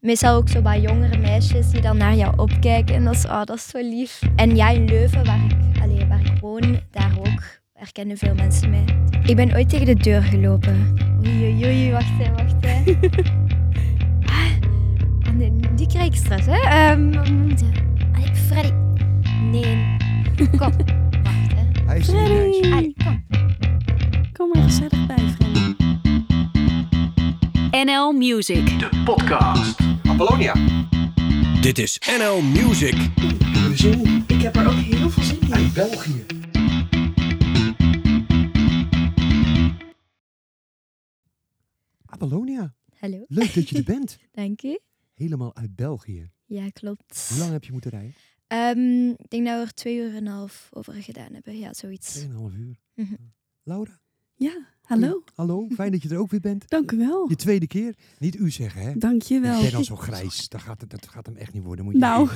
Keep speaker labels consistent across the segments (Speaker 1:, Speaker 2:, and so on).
Speaker 1: Meestal ook zo bij jongere meisjes die dan naar jou opkijken. En dat is, oh, dat is zo lief. En ja, in Leuven, waar ik, allee, waar ik woon, daar ook, herkennen veel mensen mij. Ik ben ooit tegen de deur gelopen. Oei, oei, oei, wacht hè, wacht hè.
Speaker 2: Ah, nee, die krijg ik stress, hè? Ehm, wat moet je? Allee, Freddy. Nee. Kom. Wacht, hè?
Speaker 3: Hij is een meisje.
Speaker 2: Allee, kom.
Speaker 4: Kom er gezellig bij, vrienden.
Speaker 5: NL Music.
Speaker 6: De podcast.
Speaker 3: Apollonia.
Speaker 7: Dit is NL Music.
Speaker 6: Zin
Speaker 4: Ik heb er ook heel veel zin
Speaker 6: uit België.
Speaker 3: Apollonia.
Speaker 1: Hallo,
Speaker 3: Leuk dat je er bent.
Speaker 1: dank u.
Speaker 3: Helemaal uit België.
Speaker 1: Ja, klopt.
Speaker 3: Hoe lang heb je moeten rijden?
Speaker 1: Ehm, ik denk dat we er twee uur en een half over gedaan hebben. Ja, zoiets.
Speaker 3: Tweeënhalf uur.
Speaker 1: Mhm.
Speaker 3: Laura.
Speaker 4: Ja, hallo.
Speaker 3: Hallo. Fijn dat je er ook weer bent.
Speaker 4: Dank u wel.
Speaker 3: Je tweede keer. Niet u zeggen, hè?
Speaker 4: Dank je
Speaker 3: Ik
Speaker 4: wel.
Speaker 3: ben al zo grijs. Dat gaat, het- dat gaat hem echt niet worden. Moet je
Speaker 4: Nou,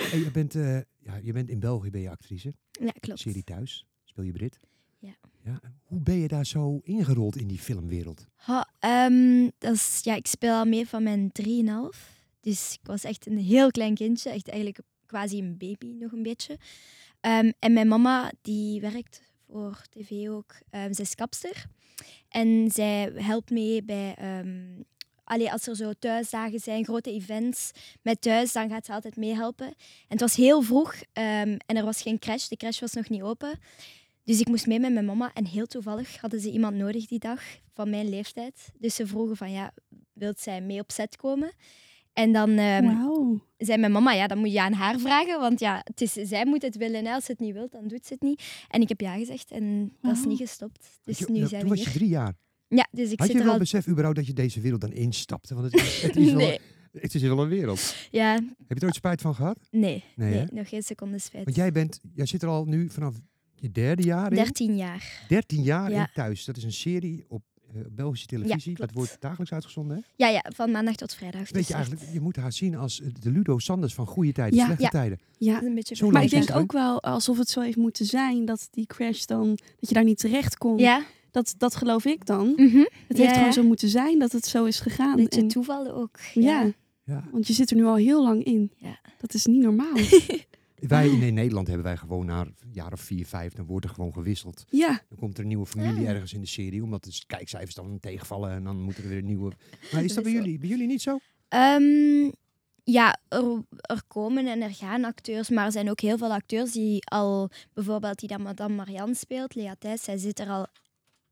Speaker 3: Hey, je, bent, eh, ja, je bent in België ben je actrice.
Speaker 1: Ja, klopt.
Speaker 3: Serie thuis. Speel je Brit.
Speaker 1: Ja.
Speaker 3: ja. Hoe ben je daar zo ingerold in die filmwereld?
Speaker 1: Ha, ehm, dat is, ja, ik speel al meer van mijn 3,5. Dus ik was echt een heel klein kindje. Echt eigenlijk quasi een baby nog een beetje. Ehm, en mijn mama die werkt voor tv ook. Ehm, zij is kapster. En zij helpt mee bij... ehm allee, als er zo thuisdagen zijn, grote events met thuis, dan gaat ze altijd meehelpen. En het was heel vroeg ehm, en er was geen crash. De crash was nog niet open. Dus ik moest mee met mijn mama en heel toevallig hadden ze iemand nodig die dag van mijn leeftijd. Dus ze vroegen van ja, wilt zij mee op set komen? En dan ehm,
Speaker 4: wauw.
Speaker 1: zei mijn mama, ja, dan moet je aan haar vragen, want ja, het is, zij moet het willen. hè. Als ze het niet wilt, dan doet ze het niet. En ik heb ja gezegd en dat is
Speaker 4: Wauw.
Speaker 1: niet gestopt. Dus
Speaker 3: Want je-
Speaker 1: nu
Speaker 3: ja,
Speaker 1: zijn
Speaker 3: toen
Speaker 1: we
Speaker 3: was je
Speaker 1: hier.
Speaker 3: drie jaar.
Speaker 1: Ja, dus ik
Speaker 3: Had
Speaker 1: zit
Speaker 3: je
Speaker 1: er
Speaker 3: wel
Speaker 1: al...
Speaker 3: besef überhaupt dat je deze wereld dan instapte? Want het is, het is, wel,
Speaker 1: Nee.
Speaker 3: het is wel een wereld.
Speaker 1: Ja,
Speaker 3: Heb je er ooit spijt van gehad?
Speaker 1: nee,
Speaker 3: Nee,
Speaker 1: nee,
Speaker 3: hè?
Speaker 1: nog geen seconde spijt.
Speaker 3: Want jij, bent, jij zit er al nu vanaf je derde jaar in.
Speaker 1: 13 jaar.
Speaker 3: 13 jaar
Speaker 1: Ja.
Speaker 3: in thuis. Dat is een serie op eh, Belgische televisie.
Speaker 1: klopt.
Speaker 3: dat wordt dagelijks uitgezonden. Hè?
Speaker 1: Ja, ja, van maandag tot vrijdag.
Speaker 3: Weet
Speaker 1: dus
Speaker 3: je
Speaker 1: echt-
Speaker 3: eigenlijk, je moet haar zien als eh, de Ludo Sanders van goede tijden,
Speaker 4: Ja.
Speaker 3: slechte
Speaker 1: Ja.
Speaker 3: tijden.
Speaker 4: Ja.
Speaker 1: Dat is een beetje
Speaker 3: Zo
Speaker 1: ver-
Speaker 4: Maar
Speaker 3: lang
Speaker 4: ik
Speaker 3: is het
Speaker 4: denk
Speaker 3: geleden?
Speaker 4: ook wel alsof het zo heeft moeten zijn dat die crash dan, dat je daar niet terecht kon.
Speaker 1: Ja,
Speaker 4: Dat, dat geloof ik dan.
Speaker 1: mhm.
Speaker 4: Het
Speaker 1: Ja,
Speaker 4: heeft gewoon
Speaker 1: ja.
Speaker 4: zo moeten zijn dat het zo is gegaan.
Speaker 1: een beetje
Speaker 4: En-
Speaker 1: toevallen ook.
Speaker 4: ja.
Speaker 3: Ja.
Speaker 4: want je zit er nu al heel lang in.
Speaker 1: Ja.
Speaker 4: Dat is niet normaal.
Speaker 1: Ah.
Speaker 3: Wij in- in Nederland hebben wij gewoon na een jaar of vier, vijf, dan wordt er gewoon gewisseld.
Speaker 4: ja,
Speaker 3: Dan komt er een nieuwe familie
Speaker 1: Ah.
Speaker 3: ergens in de serie, omdat de kijkcijfers dan tegenvallen en dan moeten er weer een nieuwe. Maar is dat bij jullie, bij jullie niet zo?
Speaker 1: Ehm, ja, er, er komen en er gaan acteurs, maar er zijn ook heel veel acteurs die al, bijvoorbeeld die dat Madame Marianne speelt, Lea Thijs, zij zit er al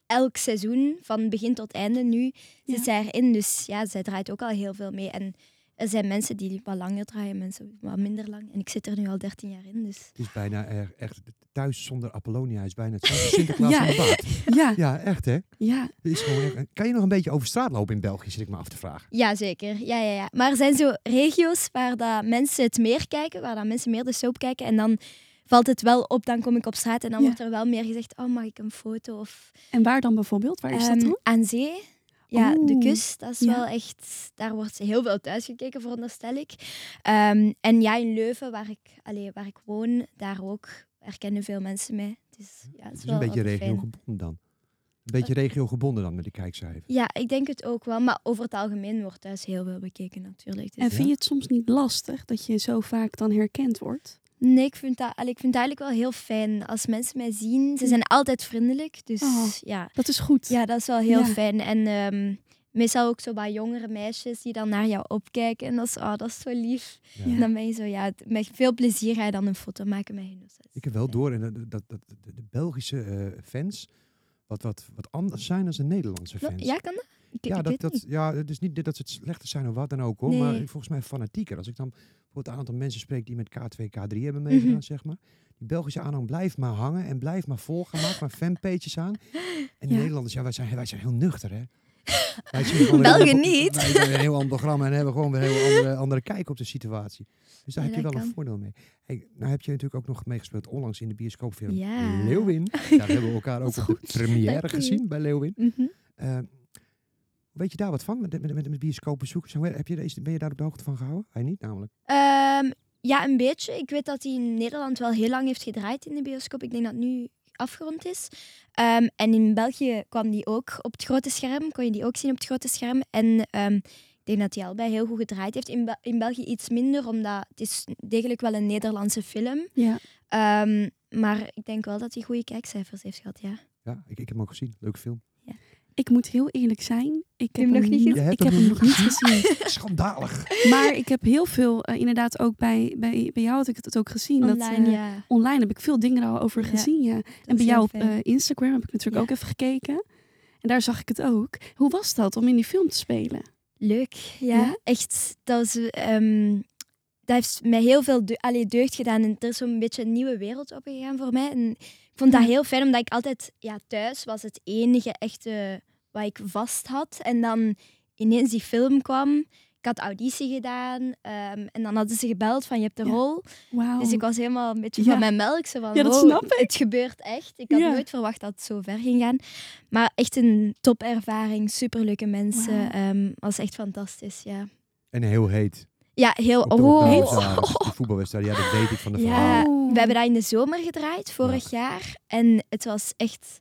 Speaker 1: elk seizoen, van begin tot einde nu,
Speaker 4: Ja.
Speaker 1: zit zij erin. Dus ja, zij draait ook al heel veel mee. En er zijn mensen die wat langer draaien, mensen wat minder lang. En ik zit er nu al 13 jaar in, dus...
Speaker 3: Het is bijna er- echt thuis zonder Apollonia is bijna hetzelfde Sinterklaas
Speaker 4: Ja.
Speaker 3: van de baard.
Speaker 4: ja,
Speaker 3: Ja, echt hè?
Speaker 4: ja.
Speaker 3: Het Is gewoon echt, kan je nog een beetje over straat lopen in België, zit ik me af te vragen.
Speaker 1: Ja, zeker. Ja, ja, ja. Maar er zijn zo regio's waar dat mensen het meer kijken, waar dat mensen meer de soap kijken. En dan valt het wel op, dan kom ik op straat en dan
Speaker 4: Ja.
Speaker 1: wordt er wel meer gezegd, oh, mag ik een foto? Of,
Speaker 4: En waar dan bijvoorbeeld? Waar is dat
Speaker 1: Ehm,
Speaker 4: dan?
Speaker 1: Aan zee. Ja, de
Speaker 4: Oeh.
Speaker 1: kust, dat is
Speaker 4: Ja.
Speaker 1: wel echt... Daar wordt heel veel thuis gekeken, veronderstel ik. Ehm, en ja, in Leuven, waar ik, allee, waar ik woon, daar ook, herkennen veel mensen mij. Dus ja, het is,
Speaker 3: Het is
Speaker 1: wel
Speaker 3: een beetje
Speaker 1: wat fijn.
Speaker 3: regiogebonden dan. Een beetje regiogebonden dan met de kijkcijfers.
Speaker 1: Ja, ik denk het ook wel. Maar over het algemeen wordt thuis heel veel bekeken natuurlijk. Dus
Speaker 4: En vind je het soms niet lastig dat je zo vaak dan herkend wordt?
Speaker 1: Nee, ik vind, dat, allee, ik vind het eigenlijk wel heel fijn. Als mensen mij zien, ze zijn altijd vriendelijk. Dus
Speaker 4: Oh.
Speaker 1: ja.
Speaker 4: Dat is goed.
Speaker 1: Mm. ja, dat is wel heel
Speaker 4: Ja.
Speaker 1: fijn. En ehm, meestal ook zo bij jongere meisjes die dan naar jou opkijken. En dat is, oh, dat is zo lief.
Speaker 3: Ja.
Speaker 1: En dan ben je zo, ja, het- met veel plezier ga je dan een foto maken met hun. Dus dat is
Speaker 3: Ik heb wel
Speaker 1: fijn.
Speaker 3: door en dat, dat, dat de- de Belgische eh, fans wat, wat, wat anders zijn dan de Nederlandse
Speaker 1: Klo-
Speaker 3: fans.
Speaker 1: Ja, kan dat? Ik,
Speaker 3: Ja,
Speaker 1: ik
Speaker 3: dat,
Speaker 1: weet
Speaker 3: dat,
Speaker 1: niet.
Speaker 3: ja, het is niet dat ze het slechter zijn of wat dan ook hoor, maar
Speaker 1: Nee.
Speaker 3: volgens mij fanatieker. Als ik dan bijvoorbeeld een aantal mensen spreek die met K2, K3 hebben meegedaan,
Speaker 1: Mhm.
Speaker 3: zeg maar. Die Belgische aanhang blijft maar hangen en blijft maar volgen, maakt maar fanpages aan. En de
Speaker 4: Ja.
Speaker 3: Nederlanders, ja, wij zijn, wij zijn heel nuchter hè. Wij zien gewoon een
Speaker 1: België
Speaker 3: heel ander-
Speaker 1: niet.
Speaker 3: Wij hebben een heel ander programma en hebben gewoon weer een heel andere, andere kijk op de situatie. Dus daar
Speaker 1: Ja,
Speaker 3: heb je
Speaker 1: dat
Speaker 3: wel een
Speaker 1: kan.
Speaker 3: voordeel mee. Hey, nou heb je natuurlijk ook nog meegespeeld onlangs in de bioscoopfilm
Speaker 1: Ja.
Speaker 3: Leeuwin. Daar hebben we elkaar ook op de première
Speaker 1: Dank u.
Speaker 3: gezien bij Leeuwin.
Speaker 1: Mhm.
Speaker 3: Eh, weet je daar wat van? Met, met, met, met bioscoopbezoekers? Hoe- Heb je, deze- ben je daar op de hoogte van gehouden? Hij niet namelijk.
Speaker 1: Ehm, ja, een beetje. Ik weet dat hij in Nederland wel heel lang heeft gedraaid in de bioscoop. Ik denk dat het nu afgerond is. Ehm, en in België kwam die ook op het grote scherm. Kon je die ook zien op het grote scherm. En ehm, ik denk dat die allebei heel goed gedraaid heeft. In, Bel- in België iets minder, omdat het is degelijk wel een Nederlandse film.
Speaker 4: Ja.
Speaker 1: Ehm, maar ik denk wel dat hij goede kijkcijfers heeft gehad, ja.
Speaker 3: Ja, ik, ik heb hem ook gezien. Leuke film.
Speaker 4: Ik moet heel eerlijk zijn. Ik
Speaker 1: hem
Speaker 4: heb
Speaker 1: nog niet gezien?
Speaker 3: Je hebt
Speaker 4: Ik heb
Speaker 3: hem
Speaker 4: hem nog niet gezien.
Speaker 3: Schandalig.
Speaker 4: Maar ik heb heel veel, eh, inderdaad ook bij, bij, bij jou had ik het ook gezien. dat,
Speaker 1: Online,
Speaker 4: eh,
Speaker 1: ja.
Speaker 4: Online heb ik veel dingen er al over
Speaker 1: Ja,
Speaker 4: gezien, ja. En
Speaker 1: is
Speaker 4: bij
Speaker 1: heel
Speaker 4: jou op
Speaker 1: fijn.
Speaker 4: eh, Instagram heb ik natuurlijk
Speaker 1: Ja.
Speaker 4: ook even gekeken. En daar zag ik het ook. Hoe was dat om in die film te spelen?
Speaker 1: Leuk, ja.
Speaker 4: Ja?
Speaker 1: Echt, dat, was, ehm, dat heeft mij heel veel deu- allee, deugd gedaan. En er is zo'n beetje een nieuwe wereld opgegaan voor mij. En ik vond dat
Speaker 4: Ja.
Speaker 1: heel fijn, omdat ik altijd... Ja, thuis was het enige echte wat ik vast had. En dan ineens die film kwam. Ik had auditie gedaan. ehm, en dan hadden ze gebeld van, je hebt de
Speaker 4: Ja.
Speaker 1: rol.
Speaker 4: Wauw.
Speaker 1: Dus ik was helemaal een beetje
Speaker 4: Oh. Ja.
Speaker 1: van mijn melk. Zo van,
Speaker 4: Ja, dat
Speaker 1: wow,
Speaker 4: snap ik.
Speaker 1: Het gebeurt echt. Ik had
Speaker 4: Ja.
Speaker 1: nooit verwacht dat het zo ver ging gaan. Maar echt een topervaring. Superleuke mensen.
Speaker 4: Wauw.
Speaker 1: ehm, was echt fantastisch, ja.
Speaker 3: En heel heet.
Speaker 1: Ja, heel...
Speaker 3: Ook erop
Speaker 1: Oh,
Speaker 3: daar, dus die voetbalwedstrijd. Ja, dat weet ik van de
Speaker 1: Ja.
Speaker 3: verhaal.
Speaker 4: Oh.
Speaker 1: We hebben dat in de zomer gedraaid, vorig jaar. En het was echt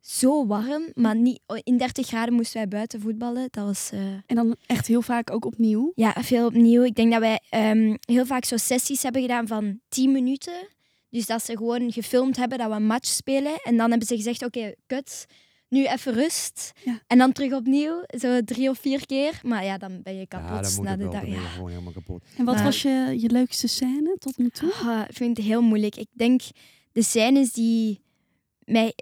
Speaker 1: zo warm. Maar niet, in 30 graden moesten wij buiten voetballen. Dat was... eh,
Speaker 4: En dan echt heel vaak ook opnieuw.
Speaker 1: Ja, veel opnieuw. Ik denk dat wij ehm, heel vaak zo sessies hebben gedaan van 10 minuten. Dus dat ze gewoon gefilmd hebben dat we een match spelen. En dan hebben ze gezegd, oké, kut, nu even rust.
Speaker 4: Ja.
Speaker 1: En dan terug opnieuw, zo drie of vier keer. Maar ja, dan ben je kapot
Speaker 3: Ja, dan moet
Speaker 1: na
Speaker 3: het
Speaker 1: de
Speaker 3: wel.
Speaker 1: dag.
Speaker 3: Dan ben je
Speaker 1: Ja.
Speaker 3: gewoon helemaal kapot.
Speaker 4: En wat
Speaker 1: Ja.
Speaker 4: was je, je leukste scène tot nu toe?
Speaker 1: Ah, ik vind het heel moeilijk. Ik denk, de scènes die mij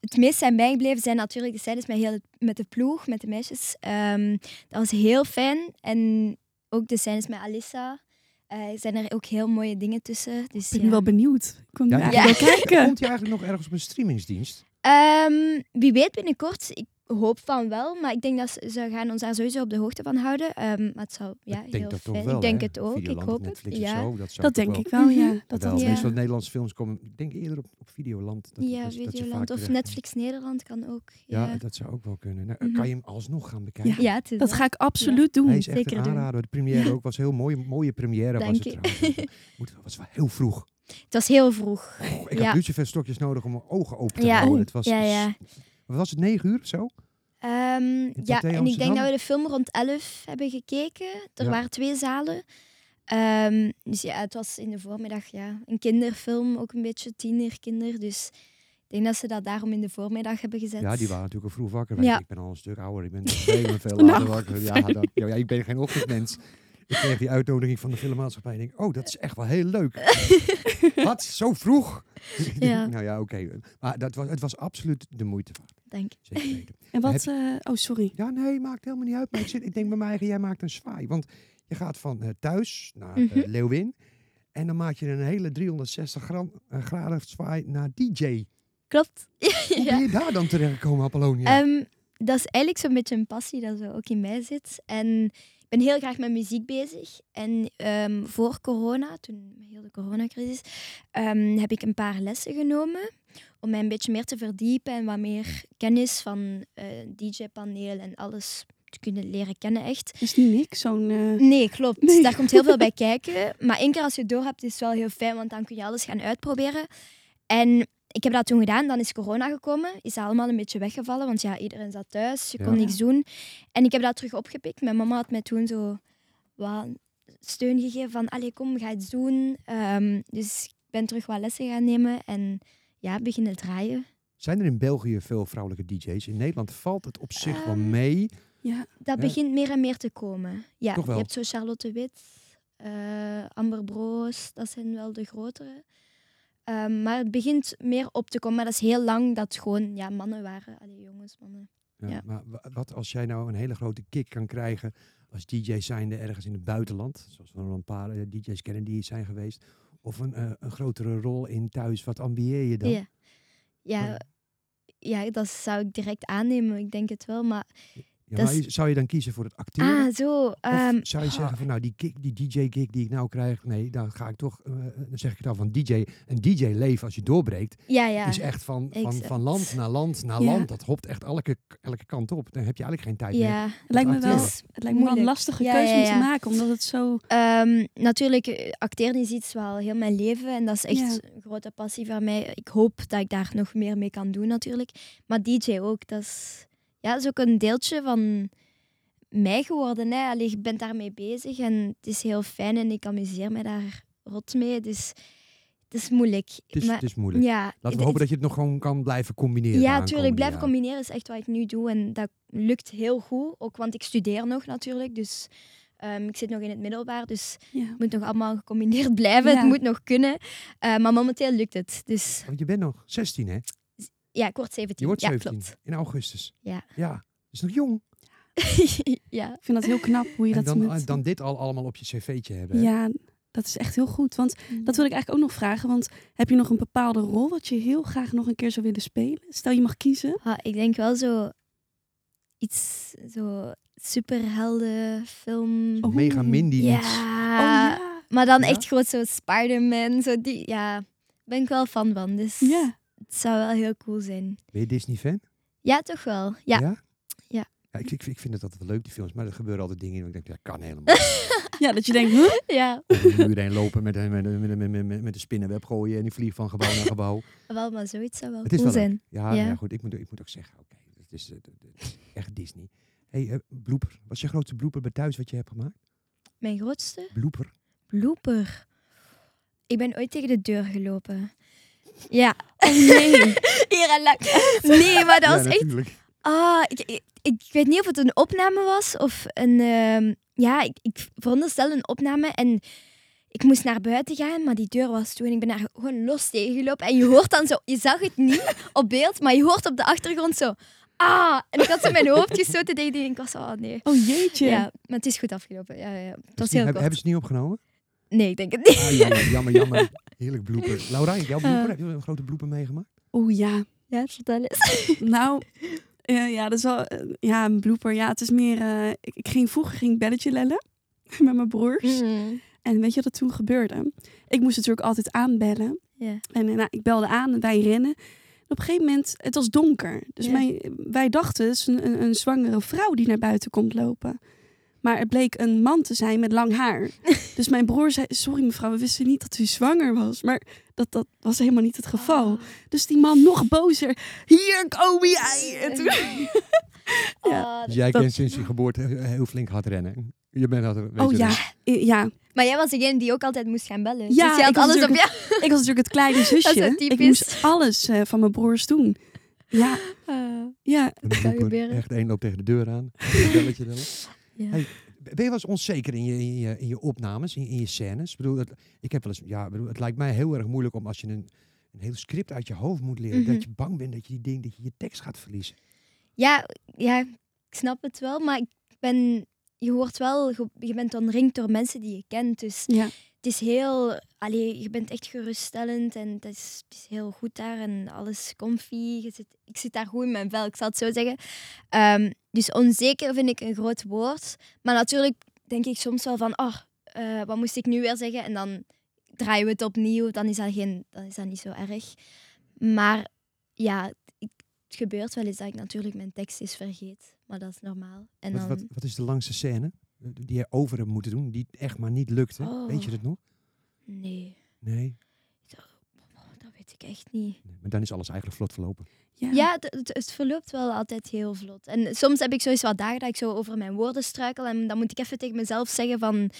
Speaker 1: het meest zijn bijgebleven zijn natuurlijk de scènes met, heel, met de ploeg, met de meisjes. Ehm, dat was heel fijn. En ook de scènes met Alissa. eh, zijn er ook heel mooie dingen tussen. Dus,
Speaker 4: Ik ben
Speaker 1: ja.
Speaker 4: nu wel benieuwd. Ik kom nu
Speaker 3: Ja,
Speaker 4: eigenlijk
Speaker 1: ja.
Speaker 4: wel kijken.
Speaker 3: Komt hij eigenlijk nog ergens op een streamingsdienst?
Speaker 1: Ehm, wie weet binnenkort. Ik hoop van wel. Maar ik denk dat ze, ze gaan ons daar sowieso op de hoogte van houden. Ehm, maar het zou ja,
Speaker 3: ik
Speaker 1: heel
Speaker 3: denk dat
Speaker 1: fijn.
Speaker 3: toch wel,
Speaker 1: ik denk
Speaker 3: hè?
Speaker 1: het ook.
Speaker 3: Videoland
Speaker 1: ik
Speaker 3: of
Speaker 1: hoop het.
Speaker 3: Netflix of
Speaker 1: Ja.
Speaker 3: zo, dat zou
Speaker 4: Dat
Speaker 3: toch
Speaker 4: denk
Speaker 3: wel-
Speaker 4: ik wel, ja. Dat
Speaker 3: Dat
Speaker 4: dat
Speaker 3: wel.
Speaker 1: ja.
Speaker 4: wel.
Speaker 3: Meestal Nederlandse films komen, ik denk eerder op, op Videoland. Dat,
Speaker 1: ja,
Speaker 3: dat- dat je
Speaker 1: Videoland
Speaker 3: vaak
Speaker 1: of
Speaker 3: terecht-
Speaker 1: Netflix Nederland kan ook.
Speaker 3: Ja,
Speaker 1: Ja,
Speaker 3: dat zou ook wel kunnen. Nou,
Speaker 1: Mhm.
Speaker 3: Kan je hem alsnog gaan bekijken?
Speaker 1: ja het is
Speaker 4: Dat
Speaker 1: wel.
Speaker 4: ga ik absoluut doen.
Speaker 3: Hij is echt
Speaker 1: zeker
Speaker 3: een
Speaker 1: doen.
Speaker 3: aanrader. De première ook was heel mooi. Mooie première
Speaker 1: Dank
Speaker 3: was
Speaker 1: je.
Speaker 3: het trouwens. Moet- Het was wel heel vroeg.
Speaker 1: Het was heel vroeg.
Speaker 3: Oh, ik
Speaker 1: Ja.
Speaker 3: had luciferstokjes nodig om mijn ogen open te
Speaker 1: Ja. Oh,
Speaker 3: houden. Het was, dus
Speaker 1: Ja, ja.
Speaker 3: Wat was het, negen uur of zo?
Speaker 1: Ehm, ja,
Speaker 3: Pathé
Speaker 1: en ik denk
Speaker 3: Amsterdam?
Speaker 1: dat we de film rond 11 hebben gekeken. Er
Speaker 3: Ja.
Speaker 1: waren twee zalen. Ehm, dus ja, het was in de voormiddag ja, een kinderfilm, ook een beetje tienerkinder. Dus ik denk dat ze dat daarom in de voormiddag hebben gezet.
Speaker 3: Ja, die waren natuurlijk al vroeg wakker. Weet
Speaker 1: Ja.
Speaker 3: je, Ik ben al een stuk ouder. Ik ben veel, veel later
Speaker 4: Nou,
Speaker 3: wakker. Ja, dat- ja, ja, ik ben geen ochtendmens. Ik kreeg die uitnodiging van de filmmaatschappij. En ik denk, oh, dat is echt wel heel leuk. Wat? Zo vroeg?
Speaker 1: Ja.
Speaker 3: nou ja, oké. Maar dat was, het was absoluut de moeite waard.
Speaker 1: Denk. ik.
Speaker 3: Zeker weten.
Speaker 4: En wat... eh, oh, sorry.
Speaker 3: Ja, nee, maakt helemaal niet uit. Maar ik, zit, ik denk bij mij eigen, jij maakt een zwaai. Want je gaat van eh, thuis naar eh,
Speaker 1: Mhm.
Speaker 3: Leeuwin. En dan maak je een hele 360 gram, eh, graden zwaai naar DJ.
Speaker 1: Klopt.
Speaker 3: Hoe
Speaker 1: ja.
Speaker 3: ben je daar dan terechtgekomen, Apollonia?
Speaker 1: Ehm, dat is eigenlijk zo'n beetje een passie dat zo ook in mij zit. En ik ben heel graag met muziek bezig. En ehm, voor corona, toen heel de coronacrisis, ehm, heb ik een paar lessen genomen om mij een beetje meer te verdiepen en wat meer kennis van eh DJ-paneel en alles te kunnen leren kennen echt.
Speaker 4: Is niet niks, zo'n... eh,
Speaker 1: Nee, klopt.
Speaker 4: Nee.
Speaker 1: Daar komt heel veel bij kijken. Maar één keer als je het door hebt, is het wel heel fijn, want dan kun je alles gaan uitproberen. En ik heb dat toen gedaan, dan is corona gekomen. Is dat allemaal een beetje weggevallen, want ja, iedereen zat thuis, je kon
Speaker 3: Ja.
Speaker 1: niks doen. En ik heb dat terug opgepikt. Mijn mama had mij toen zo wat steun gegeven van, allee, kom, ga iets doen. Ehm, dus ik ben terug wat lessen gaan nemen en ja, beginnen draaien.
Speaker 3: Zijn er in België veel vrouwelijke DJ's? In Nederland valt het op zich wel
Speaker 1: Ehm,
Speaker 3: mee.
Speaker 4: ja.
Speaker 1: Dat
Speaker 3: Ja.
Speaker 1: begint meer en meer te komen. Ja,
Speaker 3: Toch wel?
Speaker 1: je hebt zo Charlotte Wit, eh, Amber Broos, dat zijn wel de grotere. Ehm, maar het begint meer op te komen. Maar dat is heel lang dat het gewoon ja, mannen waren. Allee, jongens, mannen.
Speaker 3: Ja,
Speaker 1: ja.
Speaker 3: Maar wa- wat als jij nou een hele grote kick kan krijgen als DJ zijnde ergens in het buitenland? Zoals we er een paar eh, DJ's kennen die hier zijn geweest. Of een, eh, een grotere rol in thuis. Wat ambieer je dan?
Speaker 1: Ja. Ja,
Speaker 3: Maar-
Speaker 1: ja, dat zou ik direct aannemen. Ik denk het wel. Maar,
Speaker 3: Ja,
Speaker 1: Dat
Speaker 3: maar
Speaker 1: is-
Speaker 3: je- zou je dan kiezen voor het acteren?
Speaker 1: ah, zo. ehm,
Speaker 3: of zou je zeggen van nou die, kick, die DJ-gig die ik nou krijg, nee, dan ga ik toch, eh, dan zeg ik het al van DJ, een DJ-leven als je doorbreekt,
Speaker 1: ja, ja.
Speaker 3: is echt van, van,
Speaker 1: exact.
Speaker 3: van land naar land naar
Speaker 4: Ja.
Speaker 3: land. Dat hopt echt elke, elke kant op. Dan heb je eigenlijk geen tijd meer.
Speaker 1: ja.
Speaker 4: Het lijkt me wel,
Speaker 3: acteren.
Speaker 4: het lijkt me wel een
Speaker 1: Moeilijk.
Speaker 4: lastige
Speaker 1: Ja,
Speaker 4: keuze
Speaker 1: ja,
Speaker 4: om
Speaker 1: ja.
Speaker 4: te maken, omdat het zo...
Speaker 1: Ehm, natuurlijk, eh, acteren is iets wel heel mijn leven. En dat is echt
Speaker 4: Ja.
Speaker 1: een grote passie van mij. Ik hoop dat ik daar nog meer mee kan doen natuurlijk. Maar DJ ook, dat is, ja, dat is ook een deeltje van mij geworden. Hè. Allee, ik ben daarmee bezig en het is heel fijn en ik amuseer me daar rot mee. Dus het is moeilijk.
Speaker 3: Het is,
Speaker 1: Maar-
Speaker 3: het is moeilijk.
Speaker 1: Ja,
Speaker 3: Laten
Speaker 1: het-
Speaker 3: we hopen dat je het nog gewoon kan blijven combineren.
Speaker 1: ja,
Speaker 3: natuurlijk
Speaker 1: natuurlijk. Blijven combineren is echt wat ik nu doe. En dat lukt heel goed. Ook want ik studeer nog natuurlijk. Dus ehm, ik zit nog in het middelbaar. Dus
Speaker 4: Ja.
Speaker 1: het moet nog allemaal gecombineerd blijven.
Speaker 4: Ja.
Speaker 1: Het moet nog kunnen. Eh, maar momenteel lukt het. Dus
Speaker 3: Want je bent nog 16, hè?
Speaker 1: ja, ik word 17.
Speaker 3: Je wordt
Speaker 1: ja,
Speaker 3: 17
Speaker 1: klopt.
Speaker 3: in augustus.
Speaker 1: Ja.
Speaker 3: Ja, dat is nog jong.
Speaker 1: ja.
Speaker 4: Ik vind dat heel knap hoe je
Speaker 3: en
Speaker 4: dat
Speaker 3: dan,
Speaker 4: moet...
Speaker 3: dan dit al allemaal op je cv'tje hebben. hè?
Speaker 4: Ja, dat is echt heel goed. Want dat wil ik eigenlijk ook nog vragen. Want heb je nog een bepaalde rol wat je heel graag nog een keer zou willen spelen? Stel je mag kiezen.
Speaker 1: Ah, ik denk wel zo iets zo superhelden film.
Speaker 4: Oh,
Speaker 3: Mega Mindy
Speaker 1: ja.
Speaker 3: iets.
Speaker 1: Ah.
Speaker 4: oh ja.
Speaker 1: Maar dan
Speaker 3: Ja?
Speaker 1: echt gewoon zo Spider-Man. Zo die, ja, ben ik wel fan van. Dus
Speaker 4: Ja.
Speaker 1: het zou wel heel cool zijn.
Speaker 3: Ben je Disney-fan?
Speaker 1: Ja, toch wel. Ja.
Speaker 3: Ja.
Speaker 1: Ja.
Speaker 3: Ja, ik, ik, ik vind het altijd wel leuk, die films. Maar er gebeuren altijd dingen in. waar Ik denk, dat kan helemaal niet.
Speaker 4: ja, dat je denkt, huh?
Speaker 1: Ja,
Speaker 3: Over een muur heen lopen met, een- met, een- met, een- met, met, met een spinnenweb gooien. En die vlieg van gebouw naar gebouw.
Speaker 1: wel, maar zoiets zou wel
Speaker 3: Het is
Speaker 1: cool
Speaker 3: wel leuk.
Speaker 1: zijn.
Speaker 3: Ja, nou
Speaker 1: Ja.
Speaker 3: ja. goed. Ik moet, ik moet ook zeggen, oké. het, is, eh, het is echt Disney. hey, eh, blooper. Wat is je grootste blooper bij thuis wat je hebt gemaakt?
Speaker 1: Mijn grootste
Speaker 3: Blooper?
Speaker 1: blooper. Ik ben ooit tegen de deur gelopen. Ja.
Speaker 4: nee.
Speaker 1: Hier en lang. Nee, maar dat
Speaker 3: ja,
Speaker 1: was echt...
Speaker 3: natuurlijk.
Speaker 1: Ah, ik, ik, ik weet niet of het een opname was of een... ehm, ja, ik, ik veronderstel een opname en ik moest naar buiten gaan, maar die deur was toe en ik ben daar gewoon los tegen gelopen. En je hoort dan zo, je zag het niet op beeld, maar je hoort op de achtergrond zo... Ah, en ik had zo mijn hoofd gestoten tegen die en ik was zo, ah, nee.
Speaker 4: Oh jeetje.
Speaker 1: Ja, maar het is goed afgelopen. Ja, ja, ja. Het was
Speaker 3: Misschien
Speaker 1: heel
Speaker 3: heb-
Speaker 1: kort.
Speaker 3: Hebben ze het niet opgenomen?
Speaker 1: Nee, ik denk het niet.
Speaker 3: Ah, jammer, jammer, jammer. Heerlijk blooper. Laura, jouw
Speaker 1: Eh.
Speaker 3: blooper? Heb je een grote blooper meegemaakt?
Speaker 4: Oh ja.
Speaker 1: Ja, vertel eens.
Speaker 4: Nou, eh, ja, dat is wel eh, ja, een blooper. Ja, het is meer... eh, ik, ik ging vroeger ging ik belletje lellen met mijn broers.
Speaker 1: Mm-hmm.
Speaker 4: En weet je wat er toen gebeurde? Ik moest natuurlijk altijd aanbellen.
Speaker 1: Ja.
Speaker 4: En eh, nou, ik belde aan en wij rennen. En op een gegeven moment, het was donker. Dus
Speaker 1: Ja.
Speaker 4: mijn, wij dachten, het is een, een, een zwangere vrouw die naar buiten komt lopen. Maar het bleek een man te zijn met lang haar. dus mijn broer zei, sorry mevrouw, we wisten niet dat u zwanger was. Maar dat, dat was helemaal niet het geval.
Speaker 1: Ah.
Speaker 4: Dus die man nog bozer, hier kom jij. En toen, Ah. Ja.
Speaker 1: Ah,
Speaker 3: Dus jij
Speaker 4: Dat-
Speaker 3: kent sinds je geboorte heel flink hard rennen. Je bent altijd, weet
Speaker 4: oh
Speaker 3: je
Speaker 4: ja,
Speaker 3: dat?
Speaker 4: eh, ja.
Speaker 1: Maar jij was degene die ook altijd moest gaan bellen.
Speaker 4: Ja,
Speaker 1: dus je had
Speaker 4: ik was
Speaker 1: alles op
Speaker 4: natuurlijk-
Speaker 1: jou.
Speaker 4: Ik was natuurlijk het kleine
Speaker 1: Dat is
Speaker 4: zusje.
Speaker 1: wel
Speaker 4: Ik
Speaker 1: typisch.
Speaker 4: moest alles eh, van mijn broers doen. Ja, ja.
Speaker 3: Een
Speaker 1: Zou
Speaker 3: blooper.
Speaker 1: gebeuren.
Speaker 3: Echt één loopt tegen de deur aan. Een Belletje dan.
Speaker 1: Ja.
Speaker 3: Hey, ben je wel eens onzeker in je, in je, in je opnames, in, in je scènes? Ik bedoel, het, ik heb wel eens, ja, ik bedoel, het lijkt mij heel erg moeilijk om als je een, een heel script uit je hoofd moet leren,
Speaker 1: Mhm.
Speaker 3: dat je bang bent dat je die ding, dat je je tekst gaat verliezen.
Speaker 1: Ja, ja, ik snap het wel, maar ik ben, je hoort wel, ge- je bent omringd door mensen die je kent. Dus
Speaker 4: Ja.
Speaker 1: het is heel, allee, je bent echt geruststellend en het is, het is heel goed daar en alles comfy. Je zit, ik zit daar goed in mijn vel, ik zal het zo zeggen. Ehm, dus onzeker vind ik een groot woord. Maar natuurlijk denk ik soms wel van, oh, eh, wat moest ik nu weer zeggen? En dan draaien we het opnieuw, dan is dat, geen, dan is dat niet zo erg. Maar ja, ik- het gebeurt wel eens dat ik natuurlijk mijn tekst eens vergeet. Maar dat is normaal. En
Speaker 3: Wat,
Speaker 1: dan,
Speaker 3: wat, wat is de langste scène eh, die je over hebt moeten doen, die echt maar niet lukte?
Speaker 1: Oh.
Speaker 3: Weet je dat nog?
Speaker 1: nee,
Speaker 3: Nee.
Speaker 1: Oh, dat weet ik echt niet.
Speaker 3: Nee, Maar dan is alles eigenlijk vlot verlopen.
Speaker 4: Ja.
Speaker 1: Ja, het, het, het verloopt wel altijd heel vlot. En soms heb ik sowieso wat dagen dat ik zo over mijn woorden struikel. En dan moet ik even tegen mezelf zeggen van...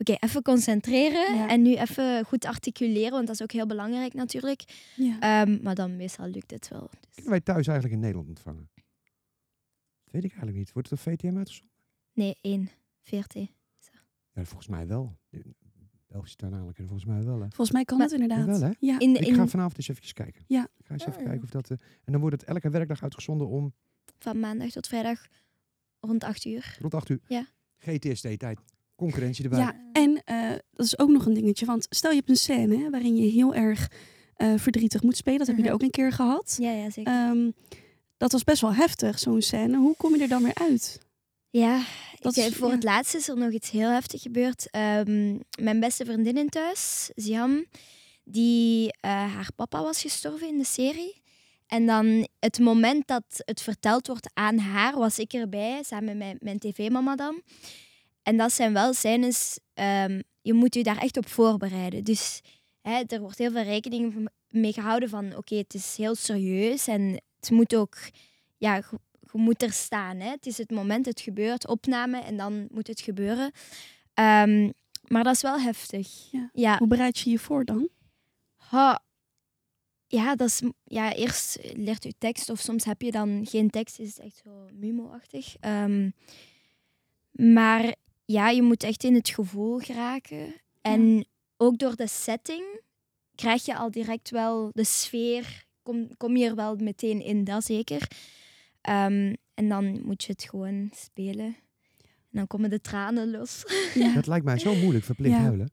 Speaker 1: Oké, even concentreren
Speaker 4: Ja.
Speaker 1: en nu even goed articuleren. Want dat is ook heel belangrijk natuurlijk.
Speaker 4: Ja.
Speaker 1: Ehm, maar dan meestal lukt het wel. Dus-
Speaker 3: Kunnen wij thuis eigenlijk in Nederland ontvangen? Dat weet ik eigenlijk niet. Wordt het op VTM uitgezonden?
Speaker 1: Nee, één. Veertien.
Speaker 3: Ja, volgens mij wel. De Belgische talen kennen volgens mij wel, hè?
Speaker 4: Volgens mij kan
Speaker 1: Maar-
Speaker 4: dat inderdaad.
Speaker 3: Jawel, hè?
Speaker 4: Ja.
Speaker 1: In,
Speaker 3: Ik ga
Speaker 1: in,
Speaker 3: vanavond eens even kijken.
Speaker 4: Ja.
Speaker 3: Ik ga eens even
Speaker 1: Ah.
Speaker 3: kijken of dat... eh, en dan wordt het elke werkdag uitgezonden om
Speaker 1: van maandag tot vrijdag rond acht uur.
Speaker 3: rond 8 uur.
Speaker 1: Ja.
Speaker 3: GTSD-tijd. Concurrentie erbij.
Speaker 4: Ja, en eh, dat is ook nog een dingetje. Want stel je hebt een scène hè, waarin je heel erg eh, verdrietig moet spelen. Dat heb je
Speaker 1: Mhm.
Speaker 4: er ook een keer gehad.
Speaker 1: Ja, ja zeker.
Speaker 4: Ehm, dat was best wel heftig, zo'n scène. Hoe kom je er dan weer uit?
Speaker 1: Ja,
Speaker 4: Dat
Speaker 1: ik,
Speaker 4: is-
Speaker 1: voor
Speaker 4: ja.
Speaker 1: het laatst is er nog iets heel heftig gebeurd. Ehm, mijn beste vriendin in thuis, Ziam, die eh, haar papa was gestorven in de serie. En dan het moment dat het verteld wordt aan haar, was ik erbij, samen met mijn tv-mama dan. En dat zijn wel scènes, ehm, je moet je daar echt op voorbereiden. Dus hè, er wordt heel veel rekening mee gehouden van, oké, het is heel serieus en het moet ook ja, ge- je moet er staan. Hè? Het is het moment, het gebeurt, opname en dan moet het gebeuren. Ehm, maar dat is wel heftig.
Speaker 4: Ja.
Speaker 1: ja.
Speaker 4: Hoe bereid je je voor dan?
Speaker 1: Ha. Ja, dat is, ja, eerst leert u tekst of soms heb je dan geen tekst. Is het echt zo mimo-achtig. Ehm, maar ja, je moet echt in het gevoel geraken. En ook door de setting krijg je al direct wel de sfeer. Kom, kom je er wel meteen in, dat zeker. Ehm, en dan moet je het gewoon spelen. En dan komen de tranen los.
Speaker 3: Dat lijkt mij zo moeilijk, verplicht
Speaker 4: Ja.
Speaker 3: huilen.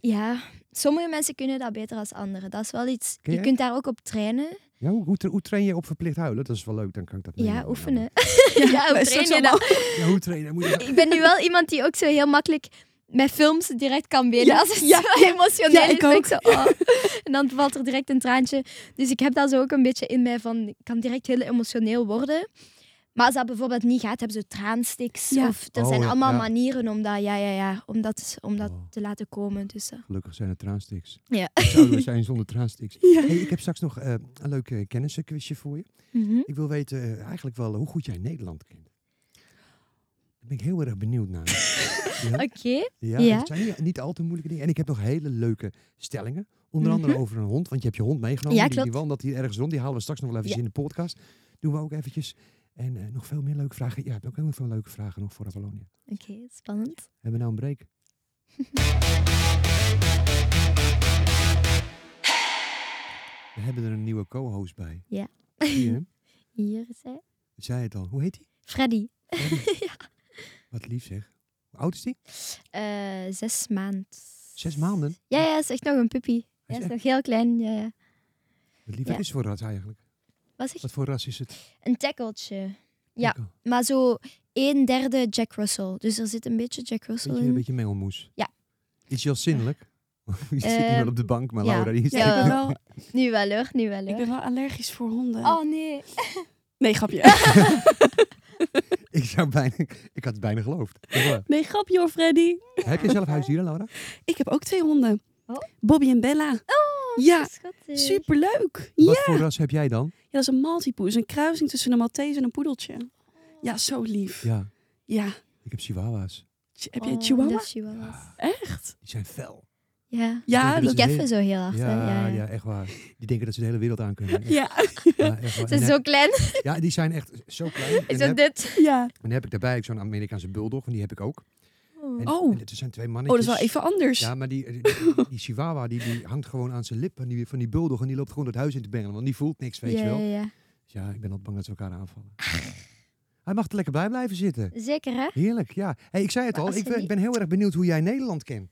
Speaker 1: Ja, sommige mensen kunnen dat beter dan anderen. Dat is wel iets.
Speaker 3: Ken
Speaker 1: Je
Speaker 3: jij?
Speaker 1: kunt daar ook op trainen.
Speaker 3: Ja, hoe, hoe tra- hoe train je op verplicht huilen? Dat is wel leuk, dan kan ik dat
Speaker 1: Ja,
Speaker 3: meenemen.
Speaker 1: oefenen.
Speaker 4: Ja,
Speaker 1: Ja, hoe
Speaker 4: is dat
Speaker 1: train
Speaker 4: zo
Speaker 1: je dat?
Speaker 3: Ja, hoe trainen? Moet je...
Speaker 1: Ik ben nu wel iemand die ook zo heel makkelijk met films direct kan willen.
Speaker 4: Ja,
Speaker 1: Als het
Speaker 4: ja,
Speaker 1: zo emotioneel
Speaker 4: ja,
Speaker 1: is,
Speaker 4: ik
Speaker 1: ben
Speaker 4: ook.
Speaker 1: zo... oh. En dan valt er direct een traantje. Dus ik heb dat zo ook een beetje in mij van... Ik kan direct heel emotioneel worden. Maar als dat bijvoorbeeld niet gaat, hebben ze traansticks.
Speaker 4: Ja.
Speaker 1: Of er
Speaker 3: Oh,
Speaker 1: zijn
Speaker 3: ja,
Speaker 1: allemaal
Speaker 3: ja.
Speaker 1: manieren om dat, ja, ja, ja, om dat, om dat
Speaker 3: Oh.
Speaker 1: te laten komen. Dus, eh,
Speaker 3: Gelukkig zijn er traansticks.
Speaker 1: Ja.
Speaker 3: Wat Zouden we zijn zonder traansticks.
Speaker 4: Ja.
Speaker 3: Hey, ik heb straks nog eh, een leuke kennissenquizje voor je.
Speaker 1: mhm.
Speaker 3: Ik wil weten eh, eigenlijk wel hoe goed jij Nederland kent. Daar ben ik heel erg benieuwd naar. Ja.
Speaker 1: Oké.
Speaker 3: Ja,
Speaker 1: Ja.
Speaker 3: het zijn niet, niet al te moeilijke dingen. En ik heb nog hele leuke stellingen. Onder andere over een hond, want je hebt je hond meegenomen.
Speaker 1: Mhm. Ja,
Speaker 3: die, die
Speaker 1: klopt.
Speaker 3: wandelt hier ergens rond. Die halen we straks nog wel eventjes in de podcast. Doen we ook eventjes. En eh, nog veel meer leuke vragen. Ja, ik heb ook heel veel leuke vragen nog voor Apollonia.
Speaker 1: Oké, spannend.
Speaker 3: Hebben we nou een break? We hebben er een nieuwe co-host bij.
Speaker 1: Ja.
Speaker 3: Zie je hem?
Speaker 1: Hier is hij.
Speaker 3: Zei het al. Hoe heet hij?
Speaker 1: Freddy.
Speaker 3: Wat lief zeg. Hoe oud is hij?
Speaker 1: Eh, zes maand.
Speaker 3: Zes maanden?
Speaker 1: Ja, ja, is echt nog een puppy.
Speaker 3: Hij
Speaker 1: Hij
Speaker 3: is
Speaker 1: is
Speaker 3: echt-
Speaker 1: nog heel klein. Ja, ja.
Speaker 3: Wat lief. Wat
Speaker 1: Ja.
Speaker 3: is het voor ras eigenlijk?
Speaker 1: Wat zeg je?
Speaker 3: Wat voor ras is het?
Speaker 1: Een tackeltje. Ja.
Speaker 3: Kijk al.
Speaker 1: Maar zo een derde Jack Russell. Dus er zit een beetje Jack Russell
Speaker 3: Beetje,
Speaker 1: in.
Speaker 3: een beetje mengelmoes.
Speaker 1: Ja.
Speaker 3: Is je al zinnelijk? je zit niet meer op de bank, maar
Speaker 1: ja.
Speaker 3: Laura, die is
Speaker 1: Ja,
Speaker 4: ik, ben
Speaker 1: wel.
Speaker 4: wel,
Speaker 1: Nu wel hoor, nu wel
Speaker 4: ik
Speaker 1: hoor.
Speaker 4: ben wel allergisch voor honden.
Speaker 3: eh,
Speaker 1: Oh nee.
Speaker 3: Ah,
Speaker 4: Nee, grapje.
Speaker 3: ik, zou bijna, ik had het bijna geloofd. Echt waar.
Speaker 4: nee, grapje hoor, Freddy.
Speaker 3: Heb je zelf huisdieren, Laura?
Speaker 4: Ik heb ook twee honden.
Speaker 1: Oh.
Speaker 4: Bobby en Bella.
Speaker 1: Oh,
Speaker 4: Ja,
Speaker 1: schattig.
Speaker 4: Superleuk. Ja,
Speaker 3: Wat voor ras heb jij dan?
Speaker 4: dat is een Maltipoes. Een kruising tussen een Maltese en een poedeltje. Ja, zo lief. Ja.
Speaker 3: Ja, ik heb chihuahua's.
Speaker 4: Ch- Heb jij Chihuahua?
Speaker 1: Oh, chihuahuas.
Speaker 4: Echt?
Speaker 3: Die zijn fel.
Speaker 1: Ja.
Speaker 4: Ja,
Speaker 3: Ja,
Speaker 1: Die
Speaker 3: dat-
Speaker 4: dat...
Speaker 1: keffen zo heel hard. hè.
Speaker 3: Dus Ja, ja,
Speaker 1: ja, ja.
Speaker 3: echt waar. Die denken dat ze de hele wereld aan kunnen.
Speaker 4: Ja.
Speaker 3: Ja, echt waar.
Speaker 1: Ze zijn
Speaker 3: En
Speaker 1: zo klein.
Speaker 3: heb- ja, die zijn echt zo klein. En
Speaker 1: Is
Speaker 3: dan
Speaker 1: zo
Speaker 3: heb,
Speaker 1: dit.
Speaker 4: ja.
Speaker 3: en dan heb ik daarbij ook zo'n Amerikaanse bulldog, en die heb ik ook. En,
Speaker 4: Oh.
Speaker 3: en het zijn twee
Speaker 4: Oh, dat
Speaker 3: mannetjes.
Speaker 4: is wel even anders.
Speaker 3: Ja, maar die, die, die- die chihuahua die, die hangt gewoon aan zijn lip van die, van die bulldog en die loopt gewoon het huis in te bengelen, want die voelt niks, weet
Speaker 1: ja,
Speaker 3: je wel.
Speaker 1: ja, ja.
Speaker 3: Dus ja, ik ben al bang dat ze elkaar aanvallen. Hij mag er lekker bij blijven zitten.
Speaker 1: Zeker hè?
Speaker 3: Heerlijk, ja. Hey, ik zei het
Speaker 1: Maar
Speaker 3: al,
Speaker 1: als
Speaker 3: ik
Speaker 1: je
Speaker 3: ben,
Speaker 1: niet-
Speaker 3: ben heel erg benieuwd hoe jij Nederland kent.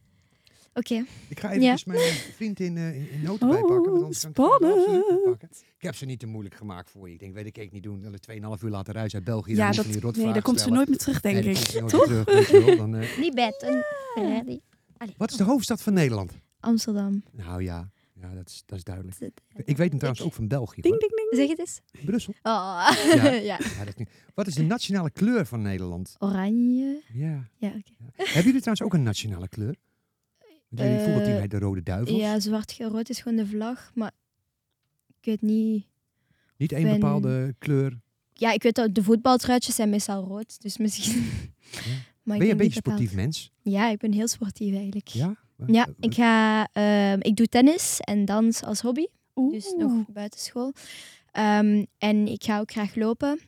Speaker 1: Oké.
Speaker 3: Ik ga
Speaker 1: Ja.
Speaker 3: even mijn vriend in, eh, in, in nood erbij
Speaker 4: Oh,
Speaker 3: pakken. Want anders kan ik het allemaal
Speaker 4: spannend.
Speaker 3: absoluut niet pakken. Ik heb ze niet te moeilijk gemaakt voor je. Ik denk, weet ik, ik niet doen. Dan een 2,5 uur later reizen uit België. dan
Speaker 4: Ja,
Speaker 3: moet je
Speaker 4: dat,
Speaker 3: van die
Speaker 4: nee,
Speaker 3: rotvragen
Speaker 4: daar komt ze
Speaker 3: stellen.
Speaker 4: nooit meer terug, denk
Speaker 3: Nee,
Speaker 4: ik.
Speaker 3: dan komt ze nooit
Speaker 4: Toch?
Speaker 3: terug, weet je wel. Dan, eh,
Speaker 1: Niet bed. Een Freddy. Allee.
Speaker 3: wat is de hoofdstad van Nederland?
Speaker 1: Amsterdam.
Speaker 3: Nou ja, ja dat, is, dat is duidelijk.
Speaker 1: Zit-
Speaker 3: Ik weet hem trouwens ook van België.
Speaker 4: Ding,
Speaker 3: hoor.
Speaker 4: ding, ding.
Speaker 1: Zeg het eens.
Speaker 3: Brussel.
Speaker 1: Oh.
Speaker 3: Ja.
Speaker 1: ja.
Speaker 3: Ja, dat is niet- Wat is de nationale kleur van Nederland?
Speaker 1: Oranje.
Speaker 3: Ja.
Speaker 1: Ja, oké.
Speaker 3: Hebben jullie trouwens ook een nationale kleur? Want jullie
Speaker 1: Eh,
Speaker 3: bijvoorbeeld die bij de Rode Duivels.
Speaker 1: Ja, zwart-rood is gewoon de vlag, maar ik weet niet.
Speaker 3: Niet één
Speaker 1: ben-
Speaker 3: bepaalde kleur.
Speaker 1: Ja, Oh, ik weet dat de voetbaltruitjes zijn meestal rood, dus misschien. Maar ik
Speaker 3: ben je
Speaker 1: denk
Speaker 3: een
Speaker 1: niet
Speaker 3: beetje
Speaker 1: bepaald.
Speaker 3: sportief mens?
Speaker 1: Ja, ik ben heel sportief eigenlijk.
Speaker 3: Ja?
Speaker 1: Ja,
Speaker 3: Eh,
Speaker 1: ik ga, ehm, ik doe tennis en dans als hobby,
Speaker 4: Oeh.
Speaker 1: dus nog buitenschool. Ehm, en ik ga ook graag lopen.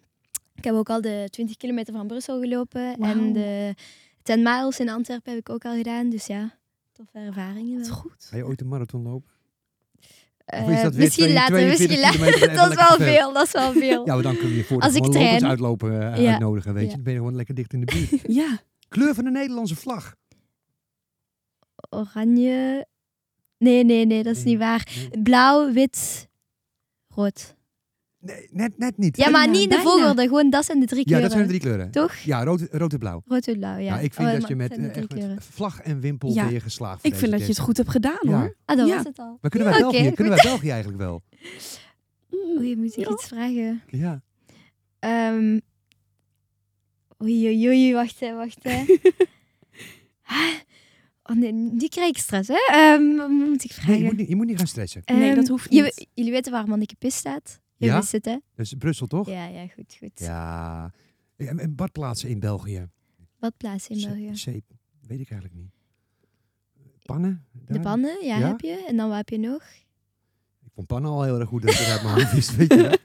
Speaker 1: Ik heb ook al de 20 kilometer van Brussel gelopen
Speaker 4: Wauw.
Speaker 1: en de 10 miles in Antwerpen heb ik ook al gedaan, dus ja, toffe ervaringen.
Speaker 4: Wat
Speaker 1: wel.
Speaker 4: goed.
Speaker 3: Ga je ooit een marathon lopen?
Speaker 1: Eh,
Speaker 3: Of is dat weer
Speaker 1: misschien
Speaker 3: 42
Speaker 1: later, misschien later.
Speaker 3: kilometer even
Speaker 1: Dat is
Speaker 3: lekker
Speaker 1: wel
Speaker 3: te ver?
Speaker 1: veel, dat is wel veel.
Speaker 3: Ja, maar dan kun je voor
Speaker 1: Als ik
Speaker 3: gewoon lopers
Speaker 1: train.
Speaker 3: uitlopen eh,
Speaker 1: Ja.
Speaker 3: uitnodigen, weet je.
Speaker 1: Ja.
Speaker 3: Dan ben je gewoon lekker dicht in de buurt.
Speaker 4: Ja.
Speaker 3: kleur van de Nederlandse vlag.
Speaker 1: oranje. Nee, nee, nee, dat is
Speaker 3: Nee.
Speaker 1: niet waar.
Speaker 3: Nee.
Speaker 1: Blauw, wit, rood.
Speaker 3: Nee, net, net niet.
Speaker 1: Ja, maar
Speaker 4: Bijna,
Speaker 1: niet in de
Speaker 4: bijna.
Speaker 1: volgorde. Gewoon, dat zijn de drie
Speaker 3: Ja,
Speaker 1: kleuren.
Speaker 3: dat zijn de drie kleuren.
Speaker 1: Toch?
Speaker 3: Ja, rood, rood en blauw.
Speaker 1: Rood, wit, blauw, ja.
Speaker 3: Nou, ik vind
Speaker 1: Oh,
Speaker 3: dat
Speaker 1: maar
Speaker 3: je
Speaker 1: het
Speaker 3: met,
Speaker 1: zijn de
Speaker 3: eh,
Speaker 1: drie
Speaker 3: echt met
Speaker 1: kleuren.
Speaker 3: vlag en wimpel
Speaker 4: Ja.
Speaker 3: ben je geslaagd. voor
Speaker 4: Ik vind
Speaker 3: deze
Speaker 4: dat je het
Speaker 3: test.
Speaker 4: goed hebt gedaan,
Speaker 3: Ja.
Speaker 4: hoor.
Speaker 1: Ah, dat
Speaker 4: Ja.
Speaker 1: was het al.
Speaker 3: Maar kunnen wij,
Speaker 1: Oké,
Speaker 3: België,
Speaker 1: goed.
Speaker 3: kunnen wij België eigenlijk wel?
Speaker 1: Oei, moet ik
Speaker 4: Ja.
Speaker 1: iets vragen?
Speaker 3: Ja.
Speaker 1: Ehm oei, oei, oei, wacht, hè, wacht. Hè. Ah, oh nee, nu krijg ik stress, hè. Ehm, wat moet ik vragen?
Speaker 3: Nee, je, moet niet, je moet niet gaan stressen.
Speaker 4: Nee,
Speaker 1: Ehm,
Speaker 4: dat hoeft
Speaker 1: je-
Speaker 4: niet.
Speaker 1: jullie weten waar Manneke Pis staat? Je
Speaker 3: Ja?
Speaker 1: wist het, hè?
Speaker 3: Dat is Dus Brussel, toch?
Speaker 1: Ja, ja, goed, goed.
Speaker 3: Ja. En, en badplaatsen in België?
Speaker 1: Wat plaats in
Speaker 3: Ze-
Speaker 1: België?
Speaker 3: Zeep, weet ik eigenlijk niet. Pannen?
Speaker 1: De
Speaker 3: daar?
Speaker 1: pannen, ja,
Speaker 3: Ja?
Speaker 1: heb je. En dan wat heb je nog?
Speaker 3: Ik vond pannen al heel erg goed dat ik uit mijn hoofd wist, weet je.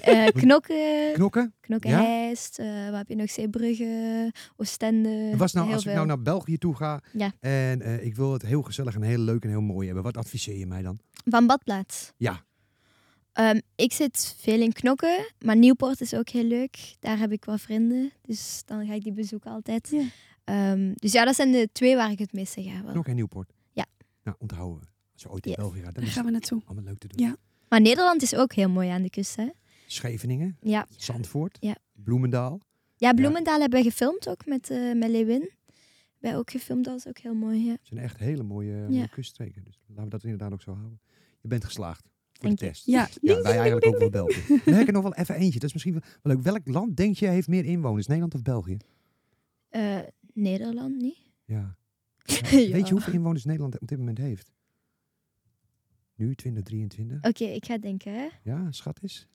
Speaker 1: Eh, knokken,
Speaker 3: Knokken?
Speaker 1: knokkenheist. eh, wat heb je nog? Zeebrugge, Oostende.
Speaker 3: En was nou,
Speaker 1: heel
Speaker 3: als ik
Speaker 1: veel.
Speaker 3: nou naar België toe ga
Speaker 1: Ja.
Speaker 3: en eh, ik wil het heel gezellig en heel leuk en heel mooi hebben, wat adviseer je mij dan?
Speaker 1: Van badplaats?
Speaker 3: nou- Ja.
Speaker 1: Ehm, ik zit veel in knokken, maar Nieuwpoort is ook heel leuk. Daar heb ik wel vrienden, dus dan ga ik die bezoeken altijd.
Speaker 4: Ja.
Speaker 1: Ehm, dus ja, dat zijn de twee waar ik het meeste ga. Wel.
Speaker 3: Knokken en Nieuwpoort?
Speaker 1: Ja.
Speaker 3: Nou, onthouden we. Als je ooit in
Speaker 1: Yes.
Speaker 3: België gaat, dan
Speaker 4: Daar
Speaker 3: is het
Speaker 4: gaan we naartoe.
Speaker 3: allemaal leuk te doen.
Speaker 4: Ja.
Speaker 1: Maar Nederland is ook heel mooi aan de kust, hè?
Speaker 3: Scheveningen,
Speaker 1: Ja.
Speaker 3: Zandvoort,
Speaker 1: Ja.
Speaker 3: Bloemendaal.
Speaker 1: Ja, Bloemendaal hebben we gefilmd ook met, eh met Lewin. Wij ook gefilmd, dat was ook heel mooi, ja.
Speaker 3: Het zijn echt hele mooie, eh, mooie kuststreken. Dus laten we dat inderdaad ook zo houden. Je bent geslaagd voor
Speaker 1: Dank
Speaker 3: de
Speaker 1: je.
Speaker 3: test.
Speaker 4: Ja.
Speaker 3: Ja, wij eigenlijk ook wel België. Dan heb ik er nog wel even eentje. Dat is misschien wel wel leuk. Welk land denk je heeft meer inwoners? Nederland of België?
Speaker 1: Eh, Nederland niet?
Speaker 3: Ja.
Speaker 1: Ja.
Speaker 3: Weet je hoeveel inwoners Nederland op dit moment heeft? Nu 2023.
Speaker 1: Oké, ik ga denken, hè.
Speaker 3: Ja, schat is.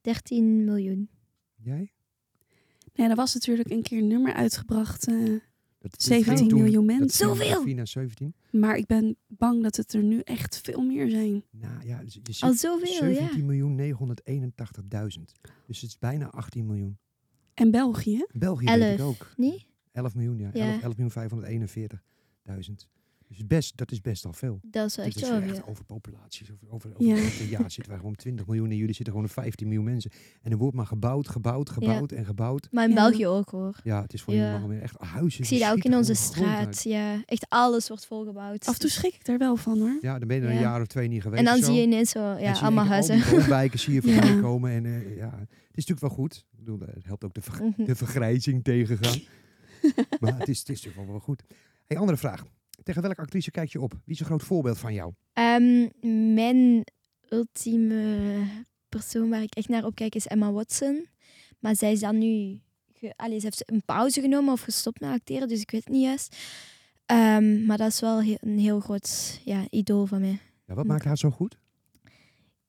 Speaker 1: 13 miljoen.
Speaker 3: Jij?
Speaker 4: Nee, er was natuurlijk een keer een nummer uitgebracht. eh,
Speaker 3: Dat viel
Speaker 4: 17
Speaker 3: toen-
Speaker 4: miljoen
Speaker 3: dat
Speaker 4: mensen.
Speaker 3: viel van
Speaker 1: Zoveel!
Speaker 3: 4 naar 17.
Speaker 4: maar ik ben bang dat het er nu echt veel meer zijn.
Speaker 3: Nou ja, dus je
Speaker 1: Al
Speaker 3: zit
Speaker 1: zoveel, ja.
Speaker 3: 17 miljoen 981.000. Dus het is bijna 18 miljoen.
Speaker 4: En België?
Speaker 3: België weet ik ook.
Speaker 1: Elf, niet?
Speaker 3: 11 miljoen, ja.
Speaker 1: Ja.
Speaker 3: 11 11 miljoen 541.000. Dus best, dat is best al veel.
Speaker 1: Dat is wel
Speaker 3: Dit
Speaker 1: echt
Speaker 3: is
Speaker 1: zo
Speaker 3: weer
Speaker 1: veel.
Speaker 3: echt overpopulatie. Over, over, over
Speaker 4: Ja.
Speaker 3: een jaar zitten wij gewoon op 20 miljoen en jullie zitten gewoon op 15 miljoen mensen. En er wordt maar gebouwd, gebouwd, gebouwd en gebouwd.
Speaker 1: Maar in
Speaker 4: Ja.
Speaker 1: België ook, hoor.
Speaker 3: Ja, het is voor
Speaker 1: Ja.
Speaker 3: jullie allemaal weer echt huizen.
Speaker 1: Ik
Speaker 3: die
Speaker 1: zie dat ook in
Speaker 3: schieten
Speaker 1: onze
Speaker 3: gewoon de grond uit.
Speaker 1: straat. Ja, echt alles wordt volgebouwd.
Speaker 4: Af en toe schrik ik daar wel van hoor.
Speaker 3: Ja, dan ben je er een
Speaker 1: Ja.
Speaker 3: jaar of twee niet geweest.
Speaker 1: en dan
Speaker 3: of zo.
Speaker 1: zie je ineens zo,
Speaker 3: En zie
Speaker 1: ja,
Speaker 3: je
Speaker 1: allemaal
Speaker 3: ineens al
Speaker 1: huizen.
Speaker 3: die woonwijken zie je voorbij
Speaker 4: Ja.
Speaker 3: komen. En eh, ja, het is natuurlijk wel goed. Ik bedoel, eh, het helpt ook de, verg-
Speaker 1: Mhm.
Speaker 3: de vergrijzing tegengaan. maar het is, het is natuurlijk wel, wel goed. Hey, andere vraag. Tegen welke actrice kijk je op? Wie is een groot voorbeeld van jou?
Speaker 1: Ehm, mijn ultieme persoon waar ik echt naar opkijk is Emma Watson. Maar zij is dan nu... Ge, allee, ze heeft een pauze genomen of gestopt met acteren, dus ik weet het niet juist. Ehm, maar dat is wel he- een heel groot ja, idool van mij.
Speaker 3: Ja, wat maakt haar zo goed?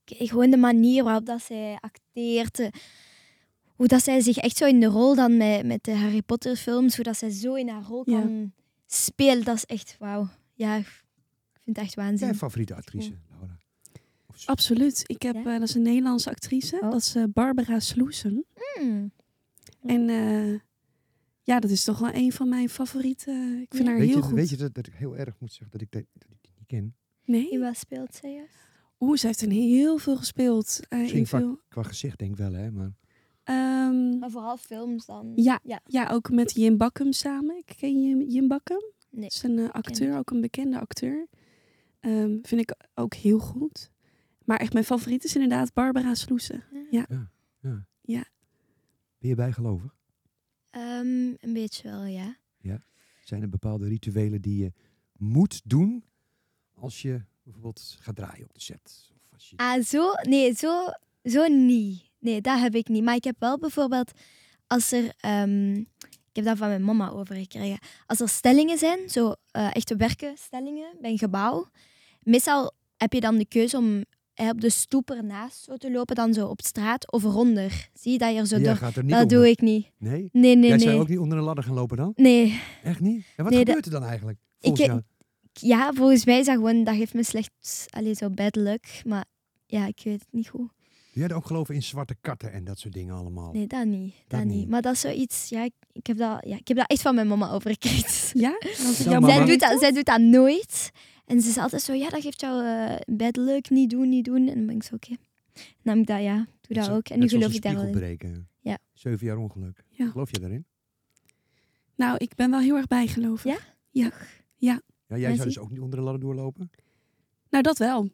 Speaker 1: Ik- Gewoon de manier waarop dat zij acteert. eh, Hoe dat zij zich echt zo in de rol dan met, met de Harry Potter films, hoe dat zij zo in haar rol
Speaker 4: Ja.
Speaker 1: kan spelen, dat is echt wauw. Ja, ik vind het echt waanzin.
Speaker 3: Zijn favoriete actrice, Laura? Of
Speaker 1: Oh,
Speaker 3: zo?
Speaker 4: Absoluut. Ik heb,
Speaker 1: Ja?
Speaker 4: eh, dat is een Nederlandse actrice.
Speaker 1: Oh.
Speaker 4: Dat is eh, Barbara Sloesen.
Speaker 1: Hmm.
Speaker 4: En eh, ja, dat is toch wel een van mijn favorieten. Ik vind
Speaker 1: Ja.
Speaker 4: haar
Speaker 3: Weet
Speaker 4: heel
Speaker 3: je,
Speaker 4: goed.
Speaker 3: weet je dat, dat ik heel erg moet zeggen dat ik, de- dat ik die niet ken?
Speaker 1: In
Speaker 4: Nee?
Speaker 1: wat speelt zij juist?
Speaker 4: Oeh, ze heeft in heel veel gespeeld. eh,
Speaker 3: Misschien
Speaker 4: in veel,
Speaker 3: Qua gezicht denk ik wel, hè? Maar
Speaker 4: Ehm,
Speaker 1: Maar vooral films dan.
Speaker 4: ja,
Speaker 1: Ja.
Speaker 4: ja, ook met Jim Bakkum samen. Ik Ken je Jim Bakkum?
Speaker 1: Nee.
Speaker 4: Dat is een eh, acteur,
Speaker 1: ik.
Speaker 4: ook een bekende acteur. Ehm, vind ik ook heel goed. Maar echt mijn favoriet is inderdaad Barbara Sloesen.
Speaker 3: ben je bijgelovig?
Speaker 1: Ehm, een beetje wel, ja.
Speaker 3: Zijn er bepaalde rituelen die je moet doen als je bijvoorbeeld gaat draaien op de set? Of als je...
Speaker 1: Ah, zo? Nee, zo, zo niet. Nee, dat heb ik niet. Maar ik heb wel bijvoorbeeld, als er... ehm, ik heb dat van mijn mama overgekregen. Als er stellingen zijn, zo eh echte werken stellingen bij een gebouw. Meestal heb je dan de keuze om eh, op de stoep ernaast zo te lopen, dan zo op straat of eronder. Zie je dat je er zo
Speaker 3: Jij
Speaker 1: door...
Speaker 3: gaat er niet
Speaker 1: Dat
Speaker 3: onder.
Speaker 1: doe ik niet.
Speaker 3: Nee?
Speaker 1: Nee, nee,
Speaker 3: Jij zou
Speaker 1: nee.
Speaker 3: ook niet onder een ladder gaan lopen dan?
Speaker 1: Nee,
Speaker 3: Echt niet? En wat
Speaker 1: Nee,
Speaker 3: gebeurt er dan eigenlijk? Volgens
Speaker 1: Ik-
Speaker 3: jou?
Speaker 1: Ja, volgens mij is dat gewoon, dat geeft me slechts alleen zo bad luck. Maar ja, ik weet het niet goed.
Speaker 3: Doe jij er ook geloven in zwarte katten en dat soort dingen allemaal?
Speaker 1: Nee, dat niet. Dat,
Speaker 3: Dat
Speaker 1: niet.
Speaker 3: niet.
Speaker 1: Maar dat is zoiets, ja ik, ik heb dat, ja, ik heb dat echt van mijn mama overgekregen.
Speaker 4: Ja? Want
Speaker 3: Zo,
Speaker 4: jouw
Speaker 3: mama.
Speaker 1: Zij
Speaker 4: mama-
Speaker 1: doet, dat, zij doet dat nooit. En ze is altijd zo, ja, dat geeft jou eh bad luck, niet doen, niet doen. En dan ben ik zo, oké. Dan nam ik dat, ja, doe dat
Speaker 3: zo-
Speaker 1: ook. En nu
Speaker 3: net zoals
Speaker 1: geloof ik
Speaker 3: een
Speaker 1: daar wel
Speaker 3: spiegel
Speaker 1: in.
Speaker 3: breken.
Speaker 1: Ja.
Speaker 3: Zeven jaar ongeluk.
Speaker 4: Ja.
Speaker 3: Geloof je daarin?
Speaker 4: Nou, ik ben wel heel erg bijgelovig.
Speaker 1: Ja?
Speaker 4: Ja.
Speaker 3: Ja, jij
Speaker 1: Ja,
Speaker 3: zou
Speaker 1: zie-
Speaker 3: dus ook niet onder een ladder doorlopen?
Speaker 4: Nou, dat wel.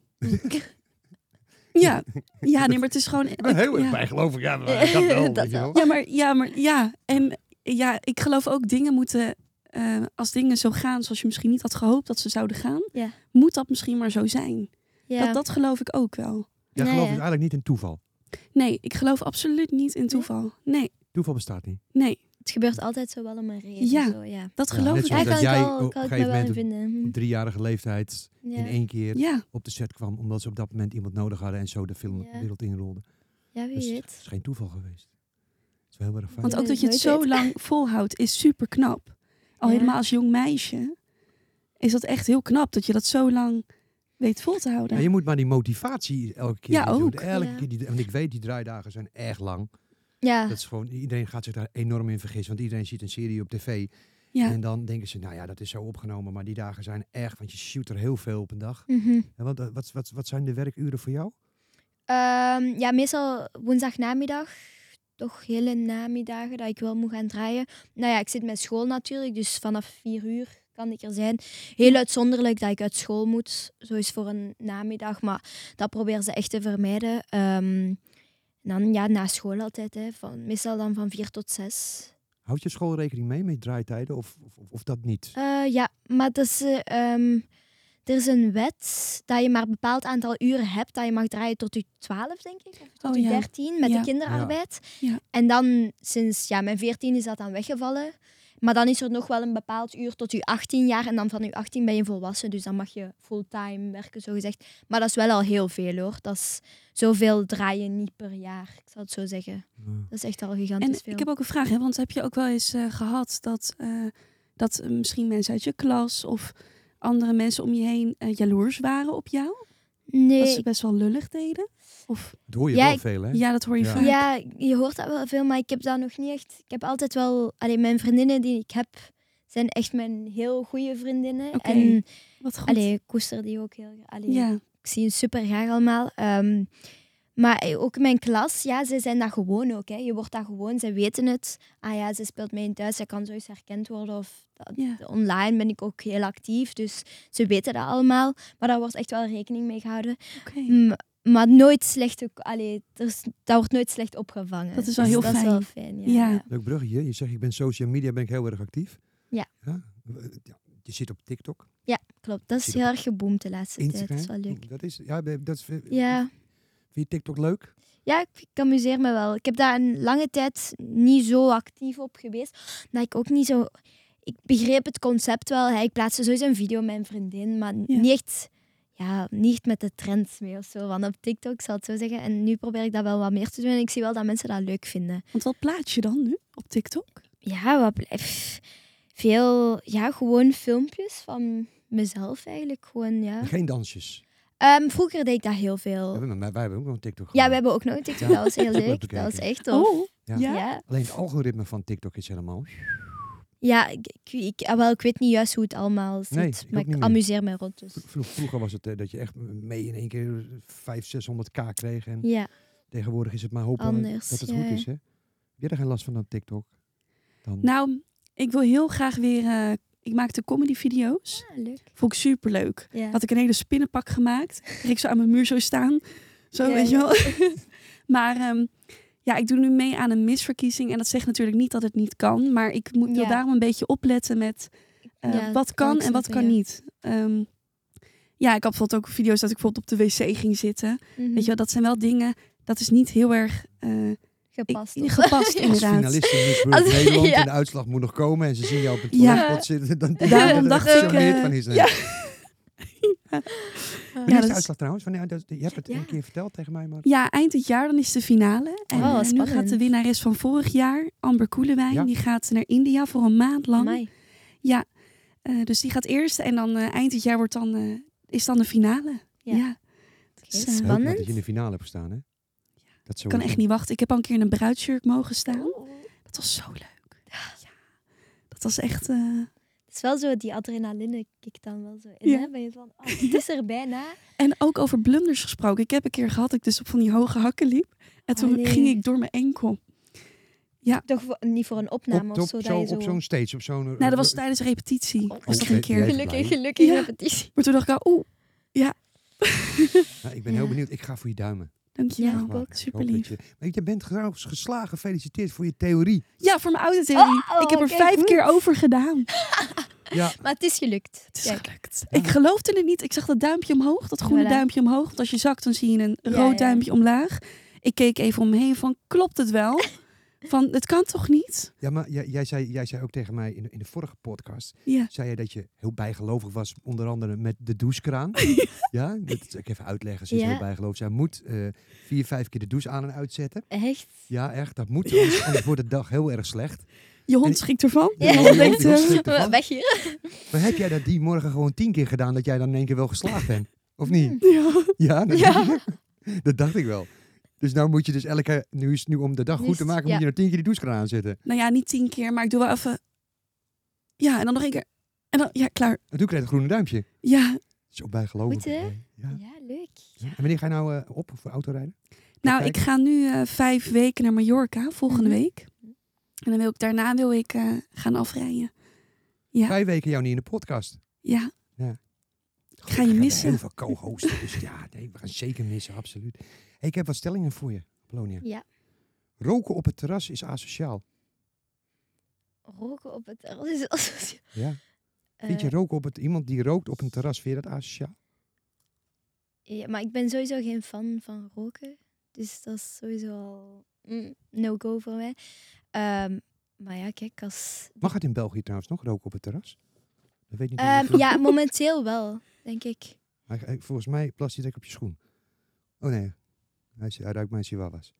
Speaker 4: ja. Ja, nee, maar het is gewoon...
Speaker 3: Ik ben Oh, heel erg
Speaker 4: ja.
Speaker 3: bijgelovig. Ja, maar dat wel.
Speaker 1: Dat
Speaker 3: weet je
Speaker 1: wel.
Speaker 4: Ja, maar ja, maar ja. En ja, ik geloof ook dingen moeten. eh, als dingen zo gaan zoals je misschien niet had gehoopt dat ze zouden gaan,
Speaker 1: Ja.
Speaker 4: moet dat misschien maar zo zijn.
Speaker 1: Ja.
Speaker 4: Dat, dat geloof ik ook wel.
Speaker 3: Jij
Speaker 1: Nee,
Speaker 3: gelooft
Speaker 1: hè.
Speaker 3: dus eigenlijk niet in toeval.
Speaker 4: Nee, ik geloof absoluut niet in toeval. Nee,
Speaker 3: Toeval bestaat niet.
Speaker 4: nee.
Speaker 1: het gebeurt altijd zo wel om een reden.
Speaker 4: Ja.
Speaker 1: Zo, ja.
Speaker 4: dat
Speaker 3: Ja,
Speaker 4: geloof
Speaker 3: net
Speaker 4: ik.
Speaker 3: zoals
Speaker 1: Daar
Speaker 4: echt.
Speaker 3: dat
Speaker 1: kan,
Speaker 3: jij
Speaker 1: ik wel,
Speaker 3: op
Speaker 1: kan
Speaker 3: een
Speaker 1: ik me
Speaker 3: gegeven
Speaker 1: wel in
Speaker 3: moment
Speaker 1: vinden.
Speaker 3: Op driejarige leeftijd
Speaker 1: Hm. Ja.
Speaker 3: in één keer
Speaker 4: Ja,
Speaker 3: op de set kwam. Omdat ze op dat moment iemand nodig hadden en zo de film
Speaker 1: Ja.
Speaker 3: de wereld inrolde.
Speaker 1: ja, wie
Speaker 3: Dus het
Speaker 1: weet.
Speaker 3: is geen toeval geweest. Het is wel heel erg fijn.
Speaker 4: want ook
Speaker 1: Ja,
Speaker 4: dat je het
Speaker 1: nooit
Speaker 4: zo
Speaker 1: weet.
Speaker 4: lang volhoudt is super knap. Al
Speaker 1: Ja.
Speaker 4: helemaal als jong meisje is dat echt heel knap dat je dat zo lang weet vol te houden.
Speaker 3: Ja, je moet maar die motivatie elke keer
Speaker 4: Ja,
Speaker 3: weer doen.
Speaker 4: ook.
Speaker 3: Elke
Speaker 1: Ja. Ah.
Speaker 3: keer die, want ik weet, die draaidagen zijn erg lang.
Speaker 1: Ja,
Speaker 3: Dat is gewoon, iedereen gaat zich daar enorm in vergissen. Want iedereen ziet een serie op tv.
Speaker 4: Ja.
Speaker 3: En dan denken ze, nou ja, dat is zo opgenomen. Maar die dagen zijn echt, want je shoot er heel veel op een dag.
Speaker 1: mhm.
Speaker 3: En wat, wat, wat, wat zijn de werkuren voor jou?
Speaker 1: Ehm, ja meestal woensdagnamiddag. Toch hele namiddagen dat ik wel moet gaan draaien. Nou ja, ik zit met school natuurlijk, dus vanaf vier uur kan ik er zijn. Heel uitzonderlijk dat ik uit school moet, zo is voor een namiddag, maar dat proberen ze echt te vermijden. Ehm, en dan ja, na school altijd, hè, van, meestal dan van vier tot zes.
Speaker 3: Houdt je school rekening mee met draaitijden of, of, of- of dat niet?
Speaker 1: Eh, ja, maar dat is, eh, ehm, er is een wet dat je maar een bepaald aantal uren hebt dat je mag draaien tot je 12, denk ik. Of tot
Speaker 4: Oh,
Speaker 1: je
Speaker 4: ja.
Speaker 1: 13 met
Speaker 4: Ja.
Speaker 1: de kinderarbeid.
Speaker 4: Ja.
Speaker 1: En dan sinds ja, mijn 14 is dat dan weggevallen. Maar dan is er nog wel een bepaald uur tot je 18 jaar. En dan van je 18 ben je volwassen. Dus dan mag je fulltime werken, zogezegd. Maar dat is wel al heel veel hoor. Dat is zoveel draaien niet per jaar. Ik zal het zo zeggen.
Speaker 3: Ja.
Speaker 1: Dat is echt al
Speaker 4: En
Speaker 1: gigantisch veel.
Speaker 4: ik heb ook een vraag, hè, want heb je ook wel eens eh, gehad dat, eh, dat eh, misschien mensen uit je klas of andere mensen om je heen eh, jaloers waren op jou?
Speaker 1: nee,
Speaker 4: Dat
Speaker 1: Eh,
Speaker 4: ze best wel lullig deden? Of,
Speaker 3: Dat hoor je
Speaker 1: Ja,
Speaker 3: wel
Speaker 1: ik-
Speaker 3: veel, hè?
Speaker 4: ja, dat hoor je
Speaker 3: Ja.
Speaker 4: vaak.
Speaker 1: Ja, je hoort dat wel veel, maar ik heb dat nog niet echt. Ik heb altijd wel. Alleen mijn vriendinnen die ik heb, zijn echt mijn heel goede vriendinnen.
Speaker 4: Oké,
Speaker 1: en
Speaker 4: Wat goed.
Speaker 1: allee, ik koester die ook heel. Allee,
Speaker 4: ja.
Speaker 1: Ik zie het super graag allemaal. Ehm, maar eh, ook mijn klas, ja, ze zijn dat gewoon ook. Hè. Je wordt dat gewoon, ze weten het. Ah ja, ze speelt mee in thuis, ze kan zoiets herkend worden. Of dat-
Speaker 4: Ja.
Speaker 1: online ben ik ook heel actief, dus ze weten dat allemaal. Maar daar wordt echt wel rekening mee gehouden.
Speaker 4: Oké.
Speaker 1: M- maar nooit slecht, ook- allee, er is- dat wordt nooit slecht opgevangen.
Speaker 4: Dat is wel
Speaker 1: Dus
Speaker 4: heel
Speaker 1: dat
Speaker 4: fijn.
Speaker 1: Is wel fijn ja,
Speaker 4: Ja.
Speaker 1: ja.
Speaker 3: Leuk bruggetje. Je zegt, ik ben social media, ben ik heel erg actief.
Speaker 1: Ja.
Speaker 3: Ja, Je zit op TikTok,
Speaker 1: klopt. Dat is
Speaker 3: Zie je
Speaker 1: heel erg geboomd de laatste tijd.
Speaker 3: Instagram.
Speaker 1: Dat is wel leuk.
Speaker 3: Dat is, ja, dat is,
Speaker 1: Ja.
Speaker 3: Vind je TikTok leuk?
Speaker 1: Ja, ik, ik amuseer me wel. Ik heb daar een lange tijd niet zo actief op geweest. Dat ik ook niet zo... Ik begreep het concept wel. Hè. Ik plaatste sowieso een video met mijn vriendin, maar
Speaker 4: Ja.
Speaker 1: niet echt... Ja, niet echt met de trends mee of zo. Want op TikTok, zal het zo zeggen. En nu probeer ik dat wel wat meer te doen. En ik zie wel dat mensen dat leuk vinden.
Speaker 4: Want wat plaats je dan nu op TikTok?
Speaker 1: ja, wat blijft veel, ja, gewoon filmpjes van mezelf eigenlijk gewoon, ja.
Speaker 3: Geen dansjes.
Speaker 1: Ehm, vroeger deed ik dat heel
Speaker 3: We
Speaker 1: veel.
Speaker 3: hebben- maar wij hebben ook nog een TikTok.
Speaker 1: Oh. Ja, we
Speaker 3: gemaakt.
Speaker 1: hebben ook nog een TikTok, dat was heel
Speaker 3: Leuk
Speaker 1: leuk,
Speaker 3: bekeken.
Speaker 1: dat was echt tof.
Speaker 4: Oh,
Speaker 3: Ja.
Speaker 4: ja.
Speaker 1: Ja,
Speaker 3: Alleen het algoritme van TikTok is helemaal...
Speaker 1: ja ik, ik, ik- ah, wel, ik weet niet juist hoe het allemaal zit,
Speaker 3: Nee, ik ook
Speaker 1: maar
Speaker 3: niet
Speaker 1: ik
Speaker 3: meer.
Speaker 1: amuseer me rond dus.
Speaker 3: Vro- Vroeger was het eh, dat je echt mee in één keer 500, 600k kreeg. En
Speaker 1: Ja,
Speaker 3: tegenwoordig is het maar hopen
Speaker 1: Anders,
Speaker 3: dat het
Speaker 1: ja,
Speaker 3: goed
Speaker 1: ja.
Speaker 3: is. Hè? Heb jij daar geen last van aan TikTok? Dan,
Speaker 4: Nou, ik wil heel graag weer... eh, ik maakte comedy video's.
Speaker 1: ja Ah, leuk.
Speaker 4: Vond ik superleuk.
Speaker 1: Ja.
Speaker 4: Had ik een hele spinnenpak gemaakt. Kreeg ik zo aan mijn muur zo staan. Zo,
Speaker 1: Ja,
Speaker 4: weet je
Speaker 1: ja.
Speaker 4: wel. maar ehm, ja, ik doe nu mee aan een misverkiezing. En dat zegt natuurlijk niet dat het niet kan. Maar ik moet, wil
Speaker 1: Ja.
Speaker 4: daarom een beetje opletten met eh,
Speaker 1: Ja,
Speaker 4: wat
Speaker 1: dat kan
Speaker 4: kan,
Speaker 1: ik
Speaker 4: en wat
Speaker 1: snappen,
Speaker 4: kan
Speaker 1: ja.
Speaker 4: niet. Ehm, ja, ik had bijvoorbeeld ook video's dat ik bijvoorbeeld op de wc ging zitten.
Speaker 1: Mhm.
Speaker 4: Weet je wel, dat zijn wel dingen... Dat is niet heel erg eh,
Speaker 1: Gepast.
Speaker 4: ik-
Speaker 1: of-
Speaker 4: gepast
Speaker 3: als
Speaker 4: inderdaad.
Speaker 3: finalist in Miss World
Speaker 1: Als-
Speaker 3: Nederland
Speaker 1: ja.
Speaker 3: en de uitslag moet nog komen en ze zien jou op het
Speaker 4: Ja.
Speaker 3: toiletpot zitten, dan denk
Speaker 4: Daarom
Speaker 3: je dat
Speaker 4: dacht
Speaker 3: het
Speaker 4: ik,
Speaker 3: gecharmeerd
Speaker 4: eh,
Speaker 3: van is.
Speaker 4: ja.
Speaker 3: Wanneer is
Speaker 4: dat
Speaker 3: de
Speaker 4: is-
Speaker 3: uitslag trouwens? Wanneer, dat, je hebt het
Speaker 1: Ja.
Speaker 3: een keer verteld tegen mij, maar...
Speaker 4: Ja, eind het jaar dan is de finale. En
Speaker 1: Oh,
Speaker 4: eh, nu
Speaker 1: spannend.
Speaker 4: gaat de winnares van vorig jaar, Amber Koelewijn,
Speaker 3: Ja.
Speaker 4: die gaat naar India voor een maand lang.
Speaker 1: Amai.
Speaker 4: Eh, dus die gaat eerst en dan eh, eind het jaar wordt dan, eh, is dan de finale. Ja.
Speaker 1: Ja.
Speaker 4: Dat
Speaker 1: Oké,
Speaker 4: is, eh,
Speaker 3: Leuk,
Speaker 1: spannend.
Speaker 3: maar dat je in de finale hebt gestaan, hè? Dat
Speaker 4: ik kan
Speaker 3: sowieso.
Speaker 4: echt niet wachten. Ik heb al een keer in een bruidsjurk mogen
Speaker 1: Oh.
Speaker 4: staan. Dat was zo leuk. Ja. Dat was echt... eh,
Speaker 1: Het is wel zo, die adrenaline kikt dan wel zo in,
Speaker 4: Ja.
Speaker 1: hè? Ben je van, oh, het is er bijna.
Speaker 4: En ook over blunders gesproken. Ik heb een keer gehad dat ik dus op van die hoge hakken liep. En toen
Speaker 1: Allee.
Speaker 4: ging ik door mijn enkel.
Speaker 1: Toch voor- niet voor een
Speaker 3: Op,
Speaker 1: opname
Speaker 3: op
Speaker 1: of zo, dat je
Speaker 3: zo'n- op zo'n stage, op zo'n...
Speaker 4: Nou, dat was tijdens repetitie.
Speaker 1: Oh.
Speaker 4: was dat
Speaker 3: oké.
Speaker 4: een keer.
Speaker 3: Jij-
Speaker 1: Gelukkig, gelukkig
Speaker 4: Ja.
Speaker 1: repetitie.
Speaker 4: Maar toen dacht ik al, oeh,
Speaker 3: Nou, ik ben heel
Speaker 1: Ja.
Speaker 3: benieuwd. Ik ga voor je duimen.
Speaker 4: dankjewel.
Speaker 1: Ja,
Speaker 3: Echt waar.
Speaker 1: ook.
Speaker 3: Ik
Speaker 4: Super
Speaker 3: hoop dat
Speaker 4: lief.
Speaker 3: je, maar je bent trouwens geslagen. Gefeliciteerd voor je theorie.
Speaker 4: Ja, voor mijn autotheorie.
Speaker 1: Oh, oh,
Speaker 4: ik heb er
Speaker 1: oké,
Speaker 4: vijf
Speaker 1: goed.
Speaker 4: keer over gedaan.
Speaker 3: Ja,
Speaker 1: Maar het is gelukt.
Speaker 4: Het is
Speaker 1: Kijk.
Speaker 4: gelukt. Ik geloofde het niet. Ik zag dat duimpje omhoog, dat groene
Speaker 1: Voilà.
Speaker 4: duimpje omhoog. Want als je zakt, dan zie je een
Speaker 1: Ja,
Speaker 4: rood
Speaker 1: ja.
Speaker 4: duimpje omlaag. Ik keek even omheen van, klopt het wel? Van, het kan toch niet?
Speaker 3: Ja, maar jij, jij, zei, jij zei ook tegen mij in, in de vorige podcast,
Speaker 4: Ja.
Speaker 3: zei je dat je heel bijgelovig was, onder andere met de douchekraan. ja, dat zal ik even uitleggen, ze is
Speaker 1: Ja.
Speaker 3: heel bijgelovig. Zij moet eh, vier, vijf keer de douche aan en uitzetten.
Speaker 1: Echt?
Speaker 3: Ja, echt, dat moet, anders, anders wordt de dag heel erg slecht.
Speaker 4: Je
Speaker 3: En-
Speaker 4: hond schrikt ervan.
Speaker 1: Ja.
Speaker 4: Je
Speaker 3: Die
Speaker 4: hond
Speaker 3: hond-
Speaker 4: denkt,
Speaker 3: die hond
Speaker 4: eh,
Speaker 3: schrikt ervan.
Speaker 1: Weg hier.
Speaker 3: Maar heb jij dat die morgen gewoon tien keer gedaan, dat jij dan in één keer wel geslaagd bent? Of niet?
Speaker 4: ja.
Speaker 3: Ja, dat,
Speaker 1: Mm. Ja.
Speaker 3: Dacht, ik, dat dacht ik wel. Dus nou moet je dus elke, nu is nu om de dag
Speaker 1: Nu
Speaker 3: goed
Speaker 1: is
Speaker 3: te
Speaker 1: het-
Speaker 3: maken,
Speaker 1: Dus, ja.
Speaker 3: moet je nog tien keer die douchekraan aanzetten.
Speaker 4: Nou ja, niet tien keer, maar ik doe wel even... Ja, en dan nog één keer. En dan, ja, klaar.
Speaker 3: En toen krijg je het groene duimpje.
Speaker 4: Ja,
Speaker 3: Zo bijgelovig.
Speaker 1: Goed, hè?
Speaker 3: Ja.
Speaker 1: Ja, leuk.
Speaker 3: En wanneer ga je nou eh, op voor autorijden?
Speaker 4: nou,
Speaker 3: Kijk.
Speaker 4: ik ga nu eh, vijf weken naar Mallorca, volgende
Speaker 1: Mhm.
Speaker 4: week. En dan wil ik, daarna wil ik eh, gaan afrijden. Ja.
Speaker 3: Vijf weken jou niet in de podcast.
Speaker 4: Ja,
Speaker 3: Goed,
Speaker 4: je
Speaker 3: we hebben
Speaker 4: missen.
Speaker 3: Heel veel co-hosten, dus ja, nee, we gaan zeker missen, absoluut. Hey, ik heb wat stellingen voor je, Polonia.
Speaker 1: Ja.
Speaker 3: Roken op het terras is asociaal.
Speaker 1: Roken op het terras is asociaal.
Speaker 3: Ja.
Speaker 1: Eh,
Speaker 3: Vind je roken op het, iemand die rookt op een terras, vind je dat asociaal?
Speaker 1: ja, maar ik ben sowieso geen fan van roken. Dus dat is sowieso al mm, no-go voor mij. Ehm, maar ja, kijk, als...
Speaker 3: Mag het in België trouwens nog, roken op het terras? Dat weet ik niet. hoe
Speaker 1: Ehm,
Speaker 3: dat-
Speaker 1: ja, momenteel wel, denk ik.
Speaker 3: Hij- hij- volgens mij plast hij direct op je schoen. Oh nee, hij, is- hij ruikt mijn chihuahuas.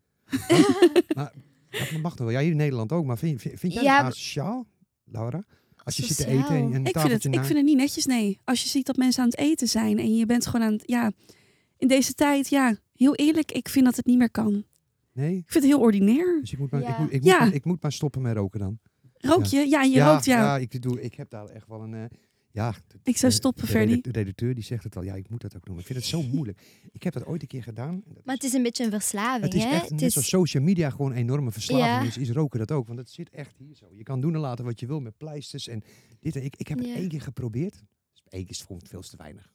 Speaker 3: maar dat mag toch wel? Ja, hier in Nederland ook. Maar vind, vind, vind jij
Speaker 1: Ja,
Speaker 3: dat
Speaker 1: maar-
Speaker 3: asociaal, Laura? Als je zit te
Speaker 1: Asociaal.
Speaker 3: eten en een
Speaker 4: ik vind, het,
Speaker 3: tafeltje
Speaker 4: ik
Speaker 3: na...
Speaker 4: vind het niet netjes, nee. Als je ziet dat mensen aan het eten zijn en je bent gewoon aan het... Ja, in deze tijd, ja, heel eerlijk, ik vind dat het niet meer kan.
Speaker 3: Nee?
Speaker 4: Ik vind het heel ordinair.
Speaker 3: Dus ik moet maar, ik
Speaker 1: Ja.
Speaker 3: moet, ik
Speaker 4: Ja.
Speaker 3: moet, maar- ik moet maar stoppen met roken dan.
Speaker 4: Rook je? Ja, je rookt, ja.
Speaker 3: Ja, ik, doe, ik heb daar echt wel een... eh, ja, de-
Speaker 4: Ik zou
Speaker 3: de-
Speaker 4: stoppen,
Speaker 3: de
Speaker 4: Ferdy.
Speaker 3: redu- De redacteur die zegt het al. Ja, ik moet dat ook doen. Ik vind het zo moeilijk. Ik heb dat ooit een keer gedaan. Dat
Speaker 1: Maar het is een beetje een verslaving,
Speaker 3: Het is
Speaker 1: hè?
Speaker 3: echt net zoals social media gewoon een enorme verslaving
Speaker 1: Ja.
Speaker 3: is, is roken dat ook. Want het zit echt hier zo. Je kan doen en laten wat je wil met pleisters en dit. en- Ik, ik heb het
Speaker 1: Ja.
Speaker 3: één keer geprobeerd. Dus één keer is vond ik veel te weinig.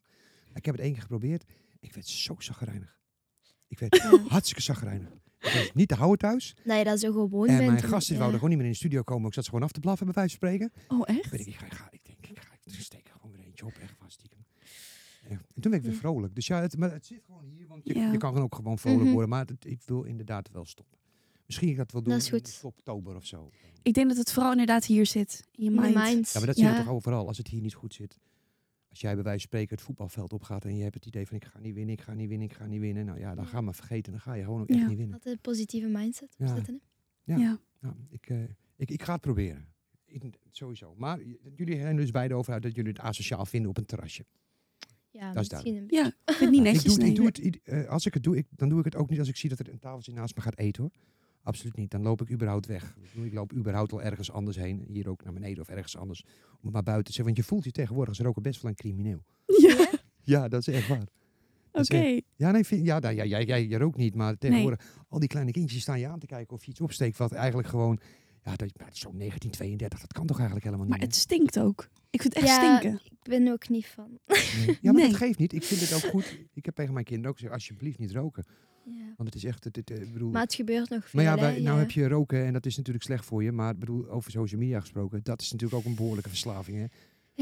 Speaker 3: Maar ik heb het één keer geprobeerd. Ik werd zo zagrijnig. Ik werd hartstikke zagrijnig. Ik was niet te houden thuis.
Speaker 1: dat je dat zo gewoon
Speaker 3: en
Speaker 1: bent.
Speaker 3: mijn
Speaker 1: om-
Speaker 3: gasten
Speaker 1: ja.
Speaker 3: wouden gewoon niet meer in de studio komen. Ik zat ze gewoon af te blaffen bij wijze van spreken.
Speaker 4: Oh,
Speaker 3: Ik, weet,
Speaker 4: echt?
Speaker 3: niet, ik, ga, ik, ga, ik denk, ik, ga, ik steek er gewoon weer eentje op. Echt vast stiekem. En toen werd ik weer vrolijk. Dus ja, het, maar het zit gewoon hier. Want je,
Speaker 4: Ja.
Speaker 3: je kan dan ook gewoon vrolijk
Speaker 1: Mhm.
Speaker 3: worden. Maar het- ik wil inderdaad wel stoppen. Misschien ik dat wel doen
Speaker 1: Dat is
Speaker 3: in
Speaker 1: goed.
Speaker 3: oktober of zo.
Speaker 4: Ik denk dat het vooral inderdaad hier zit. In je
Speaker 1: In de
Speaker 4: mind.
Speaker 1: mind.
Speaker 3: Ja, maar dat zit
Speaker 4: Ja.
Speaker 3: er toch overal. Als het hier niet goed zit. Als jij bij wijze van spreken het voetbalveld opgaat en je hebt het idee van ik ga niet winnen, ik ga niet winnen, ik ga niet winnen. Nou ja, dan ga maar vergeten. Dan ga je gewoon ook echt
Speaker 4: Ja.
Speaker 3: niet winnen.
Speaker 1: Altijd een positieve mindset
Speaker 3: Ja.
Speaker 1: opzetten, hè?
Speaker 3: Ja.
Speaker 4: Ja.
Speaker 3: Nou, ik, eh, ik, ik ga het proberen. Ik, sowieso. Maar j- jullie zijn dus beide over uit dat jullie het asociaal vinden op een terrasje.
Speaker 1: Ja,
Speaker 3: Dat is
Speaker 1: misschien een
Speaker 4: Ja, ik vind het niet
Speaker 3: Ik doe,
Speaker 4: netjes,
Speaker 3: het-
Speaker 4: nee.
Speaker 3: ik doe het, ied- eh, als ik het doe, ik, dan doe ik het ook niet als ik zie dat er een tafeltje naast me gaat eten hoor. Absoluut niet. Dan loop ik überhaupt weg. Ik bedoel, Ik loop überhaupt al ergens anders heen. Hier ook naar beneden of ergens anders. Om het maar buiten te zeggen. Want je voelt je tegenwoordig als roker best wel een crimineel.
Speaker 4: Ja, oké.
Speaker 3: Ja, dat is echt waar. Dat is echt- Ja, nee, vind, ja, nou, ja, jij, jij, jij rookt niet. Maar tegenwoordig, al die kleine kindjes staan je aan te kijken of je iets opsteekt. Wat eigenlijk gewoon, ja, dat, maar dat is zo'n 1932. Dat kan toch eigenlijk helemaal
Speaker 4: Maar
Speaker 3: niet.
Speaker 4: het stinkt ook. Ik vind het echt
Speaker 1: Ja,
Speaker 4: stinken.
Speaker 1: Ik ben er ook niet van.
Speaker 3: hè? Ja, maar
Speaker 4: Nee.
Speaker 3: dat geeft niet. Ik vind het ook goed. Ik heb tegen mijn kinderen ook gezegd, alsjeblieft niet roken.
Speaker 1: Ja.
Speaker 3: Want het is echt, het, het, eh, ik bedoel...
Speaker 1: Maar het gebeurt nog veel.
Speaker 3: Maar ja, wij,
Speaker 1: hè?
Speaker 3: nou heb je roken en dat is natuurlijk slecht voor je. Maar ik bedoel, over social media gesproken, dat is natuurlijk ook een behoorlijke verslaving. Hè?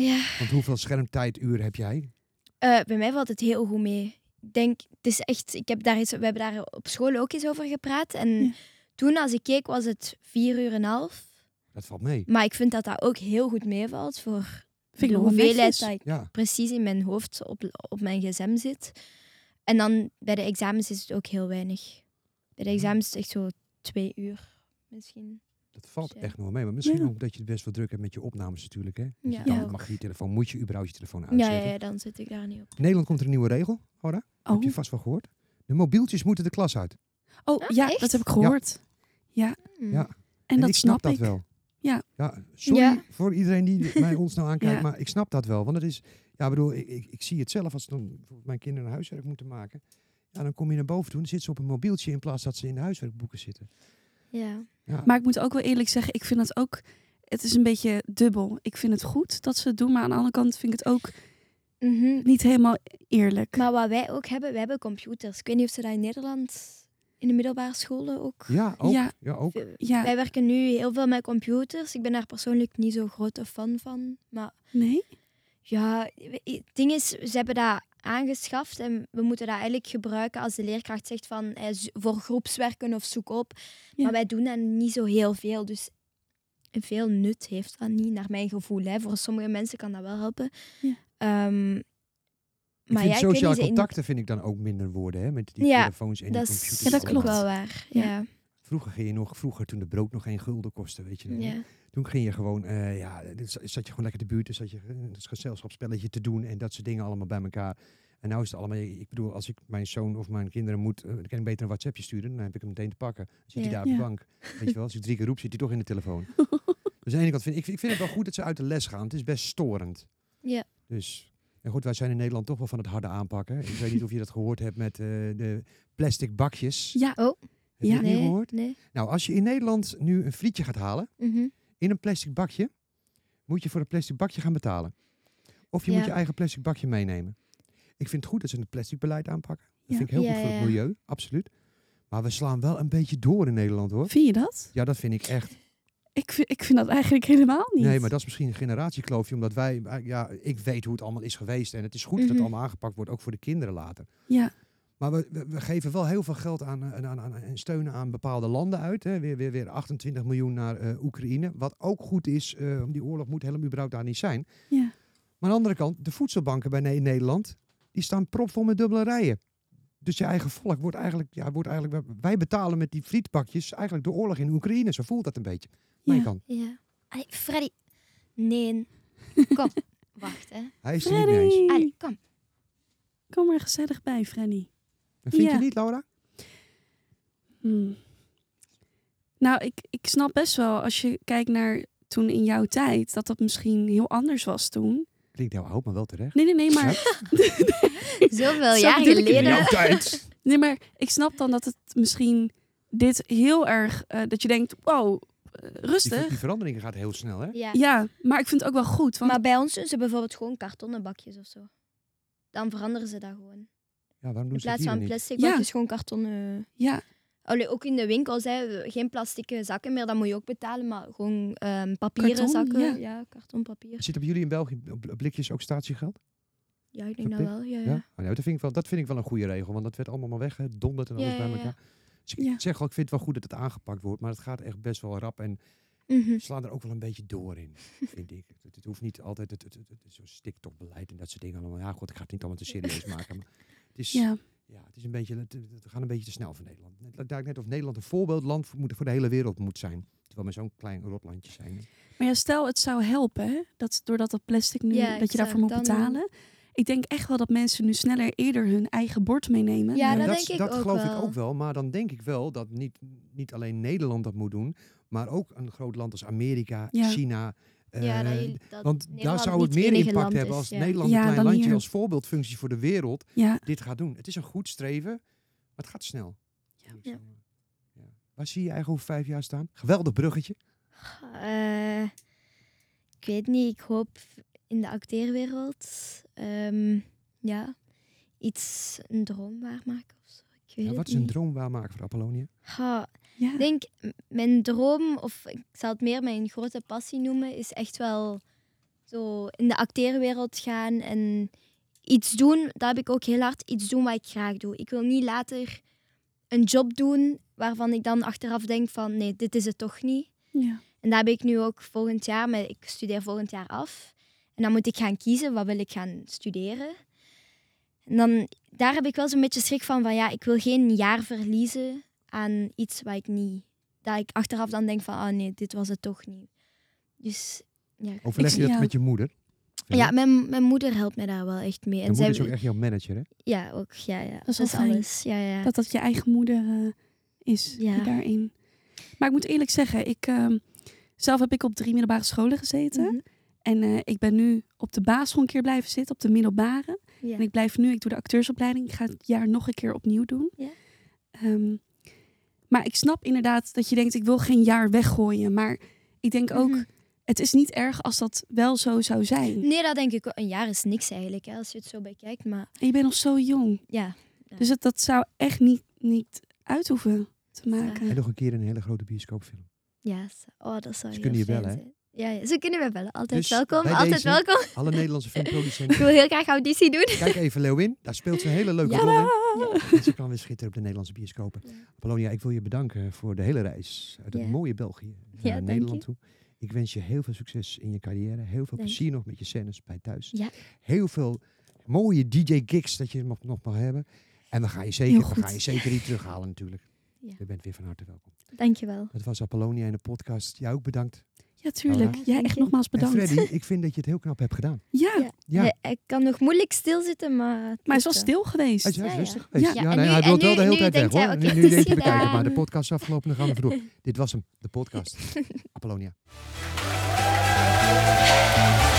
Speaker 1: Ja.
Speaker 3: Want hoeveel schermtijduren heb jij?
Speaker 1: Eh, bij mij valt het heel goed mee. Ik denk, het is echt, ik heb daar eens, we hebben daar op school ook eens over gepraat. En
Speaker 4: Ja.
Speaker 1: toen, als ik keek, was het vier uur en een half.
Speaker 3: Dat valt mee.
Speaker 1: Maar ik vind dat dat ook heel goed meevalt voor
Speaker 4: Vind
Speaker 1: de
Speaker 4: ik nog wel
Speaker 1: hoeveelheid
Speaker 4: netjes.
Speaker 1: dat ik
Speaker 3: Ja,
Speaker 1: precies in mijn hoofd op, op mijn gsm zit. En dan bij de examens is het ook heel weinig. Bij de examens is het echt zo twee uur misschien.
Speaker 3: dat valt
Speaker 1: Ja.
Speaker 3: echt nog wel mee. Maar misschien
Speaker 4: Ja.
Speaker 3: ook dat je het best wel druk hebt met je opnames natuurlijk. Hè? Dat
Speaker 1: Ja,
Speaker 3: je dan
Speaker 1: ook.
Speaker 3: mag je je telefoon, moet je überhaupt je telefoon
Speaker 1: Ja,
Speaker 3: uitzetten.
Speaker 1: ja, ja, dan zit ik daar niet op.
Speaker 3: In Nederland komt er een nieuwe regel, Hora. Heb
Speaker 4: Oh,
Speaker 3: je vast wel gehoord. De mobieltjes moeten de klas uit.
Speaker 4: oh ja,
Speaker 1: echt?
Speaker 4: dat heb ik gehoord.
Speaker 1: Hmm.
Speaker 3: Ja.
Speaker 4: En, dat
Speaker 3: ik
Speaker 4: snap,
Speaker 3: dat
Speaker 4: ik.
Speaker 3: wel.
Speaker 4: Ja.
Speaker 3: sorry
Speaker 1: Ja.
Speaker 3: voor iedereen die mij ons nou aankijkt,
Speaker 4: Ja.
Speaker 3: maar ik snap dat wel. Want het is, ja, ik bedoel, ik, ik, ik zie het zelf als dan bijvoorbeeld mijn kinderen een huiswerk moeten maken. Ja, dan kom je naar boven toe en dan zitten ze op een mobieltje in plaats dat ze in de huiswerkboeken zitten.
Speaker 1: Ja.
Speaker 3: Ja.
Speaker 4: Maar ik moet ook wel eerlijk zeggen, ik vind dat ook... Het is een beetje dubbel. Ik vind het goed dat ze het doen, maar aan de andere kant vind ik het ook
Speaker 1: Mhm.
Speaker 4: niet helemaal eerlijk.
Speaker 1: Maar wat wij ook hebben, we hebben computers. Ik weet niet of ze dat in Nederland in de middelbare scholen ook.
Speaker 3: ja, ook. Ja.
Speaker 4: Ja.
Speaker 3: ook.
Speaker 4: ja,
Speaker 1: Wij werken nu heel veel met computers. Ik ben daar persoonlijk niet zo grote fan van. Maar
Speaker 4: nee?
Speaker 1: ja, we- het ding is, ze hebben dat aangeschaft. En we moeten dat eigenlijk gebruiken als de leerkracht zegt van eh, zo- voor groepswerken of zoek op.
Speaker 4: Ja.
Speaker 1: Maar wij doen dat niet zo heel veel. Dus veel nut heeft dat niet, naar mijn gevoel. Hè. Voor sommige mensen kan dat wel helpen.
Speaker 4: Ja.
Speaker 1: Ehm,
Speaker 3: Ik
Speaker 1: maar
Speaker 3: vind
Speaker 1: ja, ik weet
Speaker 3: sociale
Speaker 1: niet, in-
Speaker 3: contacten vind ik dan ook minder worden, hè? Met die
Speaker 1: Ja,
Speaker 3: telefoons en
Speaker 1: dat
Speaker 3: die
Speaker 1: is
Speaker 3: computers.
Speaker 4: Ja, dat
Speaker 1: ook
Speaker 4: klopt.
Speaker 3: allemaal.
Speaker 1: wel waar.
Speaker 4: Ja.
Speaker 1: Ja. Ja.
Speaker 3: Vroeger ging je nog, vroeger toen de brood nog één gulden kostte, weet je. nog. Toen ging je gewoon, eh, ja, dan z- zat je gewoon lekker de buurt, dan zat je eh, een gezelschapsspelletje te doen en dat soort dingen allemaal bij elkaar. En nou is het allemaal, ik bedoel, als ik mijn zoon of mijn kinderen moet, eh, dan kan ik beter een WhatsAppje sturen, dan heb ik hem meteen te pakken. Dan zit hij
Speaker 1: Ja.
Speaker 3: daar op de
Speaker 4: Ja.
Speaker 3: bank. Weet je wel, als ik drie keer roep, zit hij toch in de telefoon. dus aan de ene kant vind ik, ik vind het wel goed dat ze uit de les gaan. Het is best storend.
Speaker 1: Ja.
Speaker 3: Dus, en goed, wij zijn in Nederland toch wel van het harde aanpakken. Ik weet niet of je dat gehoord hebt met eh, de plastic bakjes.
Speaker 4: Ja.
Speaker 1: Oh.
Speaker 3: Heb je
Speaker 4: Ja.
Speaker 3: dat
Speaker 1: Nee,
Speaker 3: niet gehoord?
Speaker 1: nee.
Speaker 3: Nou, als je in Nederland nu een frietje gaat halen,
Speaker 1: Mhm.
Speaker 3: in een plastic bakje, moet je voor een plastic bakje gaan betalen. Of je
Speaker 1: Ja.
Speaker 3: moet je eigen plastic bakje meenemen. Ik vind het goed dat ze het plasticbeleid aanpakken. Dat
Speaker 4: Ja.
Speaker 3: vind ik heel
Speaker 1: Ja,
Speaker 3: goed voor
Speaker 1: ja,
Speaker 3: het
Speaker 1: ja.
Speaker 3: milieu, absoluut. Maar we slaan wel een beetje door in Nederland hoor.
Speaker 4: Vind je dat?
Speaker 3: Ja, dat vind ik echt.
Speaker 4: Ik, vind- ik vind dat eigenlijk helemaal niet.
Speaker 3: Nee, maar dat is misschien een generatiekloofje, omdat wij, eh, ja, ik weet hoe het allemaal is geweest. En het is goed dat
Speaker 1: Mhm.
Speaker 3: het allemaal aangepakt wordt, ook voor de kinderen later.
Speaker 4: Ja.
Speaker 3: Maar we, we, we geven wel heel veel geld aan, eh, aan, aan, aan- en steunen aan bepaalde landen uit. Hè. Weer, weer, weer 28 miljoen naar eh, Oekraïne. Wat ook goed is, eh, want die oorlog moet helemaal überhaupt daar niet zijn.
Speaker 4: Ja.
Speaker 3: Maar aan de andere kant, de voedselbanken bij Ne- Nederland, die staan propvol met dubbele rijen. Dus je eigen volk wordt eigenlijk, ja, wordt eigenlijk, wij betalen met die frietbakjes eigenlijk de oorlog in Oekraïne. Zo voelt dat een beetje. Mijn
Speaker 4: Ja.
Speaker 3: kant.
Speaker 1: Ja.
Speaker 2: Allee, Freddy. Nee. Kom. Wacht, hè.
Speaker 3: Hij is er niet mee eens.
Speaker 4: Freddy,
Speaker 2: Allee, kom.
Speaker 4: kom er gezellig bij, Freddy.
Speaker 3: Dat vind
Speaker 4: Ja.
Speaker 3: je niet, Laura?
Speaker 4: Hmm. Nou, ik, ik snap best wel als je kijkt naar toen in jouw tijd, dat dat misschien heel anders was toen.
Speaker 3: Klinkt heel oud, maar wel terecht.
Speaker 4: Nee, nee, nee, maar,
Speaker 1: Zoveel
Speaker 4: Zo
Speaker 1: jaar
Speaker 4: bedoel ik het
Speaker 1: geleden.
Speaker 4: niet.
Speaker 3: jouw tijd.
Speaker 4: nee, maar ik snap dan dat het misschien dit heel erg, eh, dat je denkt, wow, eh,
Speaker 3: Die, ver- die
Speaker 4: rustig.
Speaker 3: verandering gaat heel snel, hè?
Speaker 1: Ja.
Speaker 4: Ja, maar ik vind het ook wel goed. Want
Speaker 1: Maar bij ons doen ze bijvoorbeeld gewoon kartonnen bakjes of zo. Dan veranderen ze dat gewoon.
Speaker 3: Ja, waarom
Speaker 1: In
Speaker 3: doen ze dat
Speaker 1: plaats
Speaker 3: hier dan
Speaker 1: van
Speaker 3: niet?
Speaker 1: plastic
Speaker 4: Ja.
Speaker 1: bakjes, gewoon kartonnen.
Speaker 4: ja,
Speaker 1: Allee, ook in de winkels, hè. geen plastic zakken meer, dat moet je ook betalen. Maar gewoon ehm, papieren
Speaker 4: Karton,
Speaker 1: zakken.
Speaker 4: ja.
Speaker 1: Ja, karton, papier.
Speaker 3: Zit op jullie in België bl- blikjes ook statiegeld?
Speaker 1: Ja, ik denk dat
Speaker 3: Verplicht?
Speaker 1: wel. Ja,
Speaker 3: Ja.
Speaker 1: ja.
Speaker 3: Oh, nou, dat, vind ik wel, dat vind ik wel een goede regel, want dat werd allemaal maar weggedonderd en
Speaker 1: Ja,
Speaker 3: alles bij
Speaker 1: ja, ja.
Speaker 3: elkaar. Dus ik
Speaker 4: Ja.
Speaker 3: zeg al, ik vind het wel goed dat het aangepakt wordt, maar het gaat echt best wel rap en
Speaker 1: Mhm.
Speaker 3: slaan er ook wel een beetje door in, vind ik. Het, het hoeft niet altijd het, het, het, het- zo'n stikstofbeleid en dat soort dingen allemaal. Ja, god, ik ga het niet allemaal te serieus maken, maar het is, ja.
Speaker 4: ja,
Speaker 3: het is een beetje, het, het- we gaan een beetje te snel voor Nederland. Het lijkt net of Nederland een voorbeeldland voor, moet- voor de hele wereld moet zijn, terwijl we zo'n klein rotlandje zijn.
Speaker 4: maar ja, stel het zou helpen, hè, dat doordat dat plastic nu,
Speaker 1: Ja,
Speaker 4: dat je daarvoor moet
Speaker 1: exact, dan-
Speaker 4: betalen. Ik denk echt wel dat mensen nu sneller eerder hun eigen bord meenemen.
Speaker 1: Ja, dat
Speaker 3: Ja, dat
Speaker 1: denk
Speaker 3: is-
Speaker 1: ik
Speaker 3: dat
Speaker 1: ook
Speaker 3: geloof
Speaker 1: wel.
Speaker 3: ik ook wel. Maar dan denk ik wel dat niet, niet alleen Nederland dat moet doen, maar ook een groot land als Amerika,
Speaker 4: Ja.
Speaker 3: China.
Speaker 1: ja,
Speaker 3: eh,
Speaker 1: dat, je- dat
Speaker 3: want daar
Speaker 1: Nederland
Speaker 3: zou het
Speaker 1: niet
Speaker 3: meer
Speaker 1: enige
Speaker 3: impact
Speaker 1: land
Speaker 3: hebben
Speaker 1: is,
Speaker 3: als
Speaker 1: ja.
Speaker 3: Nederland,
Speaker 4: Ja,
Speaker 3: een klein
Speaker 4: dan
Speaker 3: landje,
Speaker 4: hier.
Speaker 3: als voorbeeldfunctie voor de wereld,
Speaker 4: Ja,
Speaker 3: dit gaat doen. Het is een goed streven, maar het gaat snel. eh,
Speaker 1: Ja.
Speaker 3: Ja. Waar zie je eigenlijk over vijf jaar staan? Geweldig bruggetje.
Speaker 1: Eh, ik weet niet, ik hoop in de acteerwereld. ehm, ja, iets, een droom waarmaken of zo. Ik weet
Speaker 3: Ja,
Speaker 1: het
Speaker 3: wat is een
Speaker 1: niet.
Speaker 3: droom waarmaken voor Apollonia?
Speaker 1: Ha,
Speaker 4: ja.
Speaker 1: ik denk, m- mijn droom, of ik zal het meer mijn grote passie noemen, is echt wel zo in de acteerwereld gaan en iets doen. Daar heb ik ook heel hard iets doen wat ik graag doe. Ik wil niet later een job doen waarvan ik dan achteraf denk van nee, dit is het toch niet.
Speaker 4: ja.
Speaker 1: En dat heb ik nu ook volgend jaar, maar ik studeer volgend jaar af. En dan moet ik gaan kiezen, wat wil ik gaan studeren. En dan, daar heb ik wel zo'n beetje schrik van, van ja, ik wil geen jaar verliezen aan iets wat ik niet... Dat ik achteraf dan denk van, ah nee, dit was het toch niet. Dus ja, ik-
Speaker 3: Overleg je
Speaker 4: zie-
Speaker 3: dat
Speaker 4: ja.
Speaker 3: met je moeder?
Speaker 1: ja mijn, mijn moeder helpt mij daar wel echt mee.
Speaker 3: Je
Speaker 1: En
Speaker 3: moeder
Speaker 1: zij,
Speaker 3: is ook echt jouw manager, hè?
Speaker 1: Ja, ook. Ja, ja. Dat
Speaker 4: is
Speaker 1: is,
Speaker 4: wel fijn.
Speaker 1: alles. Ja, ja.
Speaker 4: dat dat je eigen moeder eh, is
Speaker 1: Ja.
Speaker 4: die daarin. Maar ik moet eerlijk zeggen, ik, ehm, zelf heb ik op drie middelbare scholen gezeten.
Speaker 1: Mhm.
Speaker 4: En eh, ik ben nu op de basisschool een keer blijven zitten, op de middelbare.
Speaker 1: Ja.
Speaker 4: En ik blijf nu, ik doe de acteursopleiding. Ik ga het jaar nog een keer opnieuw doen.
Speaker 1: Ja.
Speaker 4: Ehm, maar ik snap inderdaad dat je denkt, ik wil geen jaar weggooien. Maar ik denk ook,
Speaker 1: Mhm.
Speaker 4: het is niet erg als dat wel zo zou zijn.
Speaker 1: Nee, dat denk ik wel. Een jaar is niks eigenlijk, hè, als je het zo bekijkt. Maar
Speaker 4: En je bent nog zo jong.
Speaker 1: ja, Ja.
Speaker 4: Dus het, dat zou echt niet, niet uit hoeven te maken.
Speaker 3: En nog een keer in een hele grote bioscoopfilm.
Speaker 1: ja. zo- Oh, dat zou
Speaker 3: Ze
Speaker 1: heel
Speaker 3: kunnen je
Speaker 1: fijn
Speaker 3: bellen, hè?
Speaker 1: zijn. Ja, ja, ze kunnen we bellen. Altijd
Speaker 3: Dus
Speaker 1: welkom.
Speaker 3: bij
Speaker 1: Altijd
Speaker 3: deze-
Speaker 1: welkom.
Speaker 3: Alle Nederlandse
Speaker 1: Ik
Speaker 3: filmproducenten.
Speaker 1: wil heel graag auditie doen.
Speaker 3: Kijk even Leeuwin. Daar speelt ze een hele leuke
Speaker 1: Ja.
Speaker 3: rol in. En ze kan weer schitteren op de Nederlandse bioscopen. Apollonia, ik wil je bedanken eh, voor de hele reis. Uit het
Speaker 1: Ja.
Speaker 3: mooie België naar
Speaker 1: Ja, dank
Speaker 3: Nederland
Speaker 1: je.
Speaker 3: toe. Ik wens je heel veel succes in je carrière. Heel veel
Speaker 1: Dank.
Speaker 3: plezier nog met je scènes bij thuis.
Speaker 1: Ja.
Speaker 3: Heel veel mooie DJ-gigs dat je nog, nog mag hebben. En we gaan je zeker,
Speaker 4: Heel
Speaker 3: we
Speaker 4: goed.
Speaker 3: gaan je zeker niet terughalen natuurlijk.
Speaker 1: Ja.
Speaker 3: Je bent weer van harte welkom.
Speaker 1: Dankjewel.
Speaker 3: Het was Apollonia in de podcast. Jij ook bedankt.
Speaker 4: Ja, tuurlijk.
Speaker 1: Laura?
Speaker 4: Jij
Speaker 1: Dank
Speaker 4: echt
Speaker 1: je.
Speaker 4: nogmaals
Speaker 3: En
Speaker 4: bedankt.
Speaker 3: Freddy, ik vind dat je het heel knap hebt gedaan.
Speaker 4: Ja,
Speaker 1: Ja.
Speaker 3: Ja,
Speaker 1: Ja, ik kan nog moeilijk stilzitten, maar... het
Speaker 4: maar hij is wel
Speaker 1: lukt
Speaker 4: stil geweest.
Speaker 3: hij is
Speaker 1: Ja, ja.
Speaker 3: rustig geweest.
Speaker 4: Ja.
Speaker 3: Ja,
Speaker 1: Ja, en
Speaker 3: nee,
Speaker 1: nu-
Speaker 3: hij wil
Speaker 1: en
Speaker 3: wel
Speaker 1: nu-
Speaker 3: de hele
Speaker 1: nu
Speaker 3: tijd weg
Speaker 1: denkt
Speaker 3: hoor.
Speaker 1: hij, oké,
Speaker 3: nu
Speaker 1: het
Speaker 3: denk
Speaker 1: is
Speaker 3: je bekijken,
Speaker 1: gedaan.
Speaker 3: maar de podcast is afgelopen. Dan gaan we door. Dit was hem, de podcast. Apollonia.
Speaker 1: wel.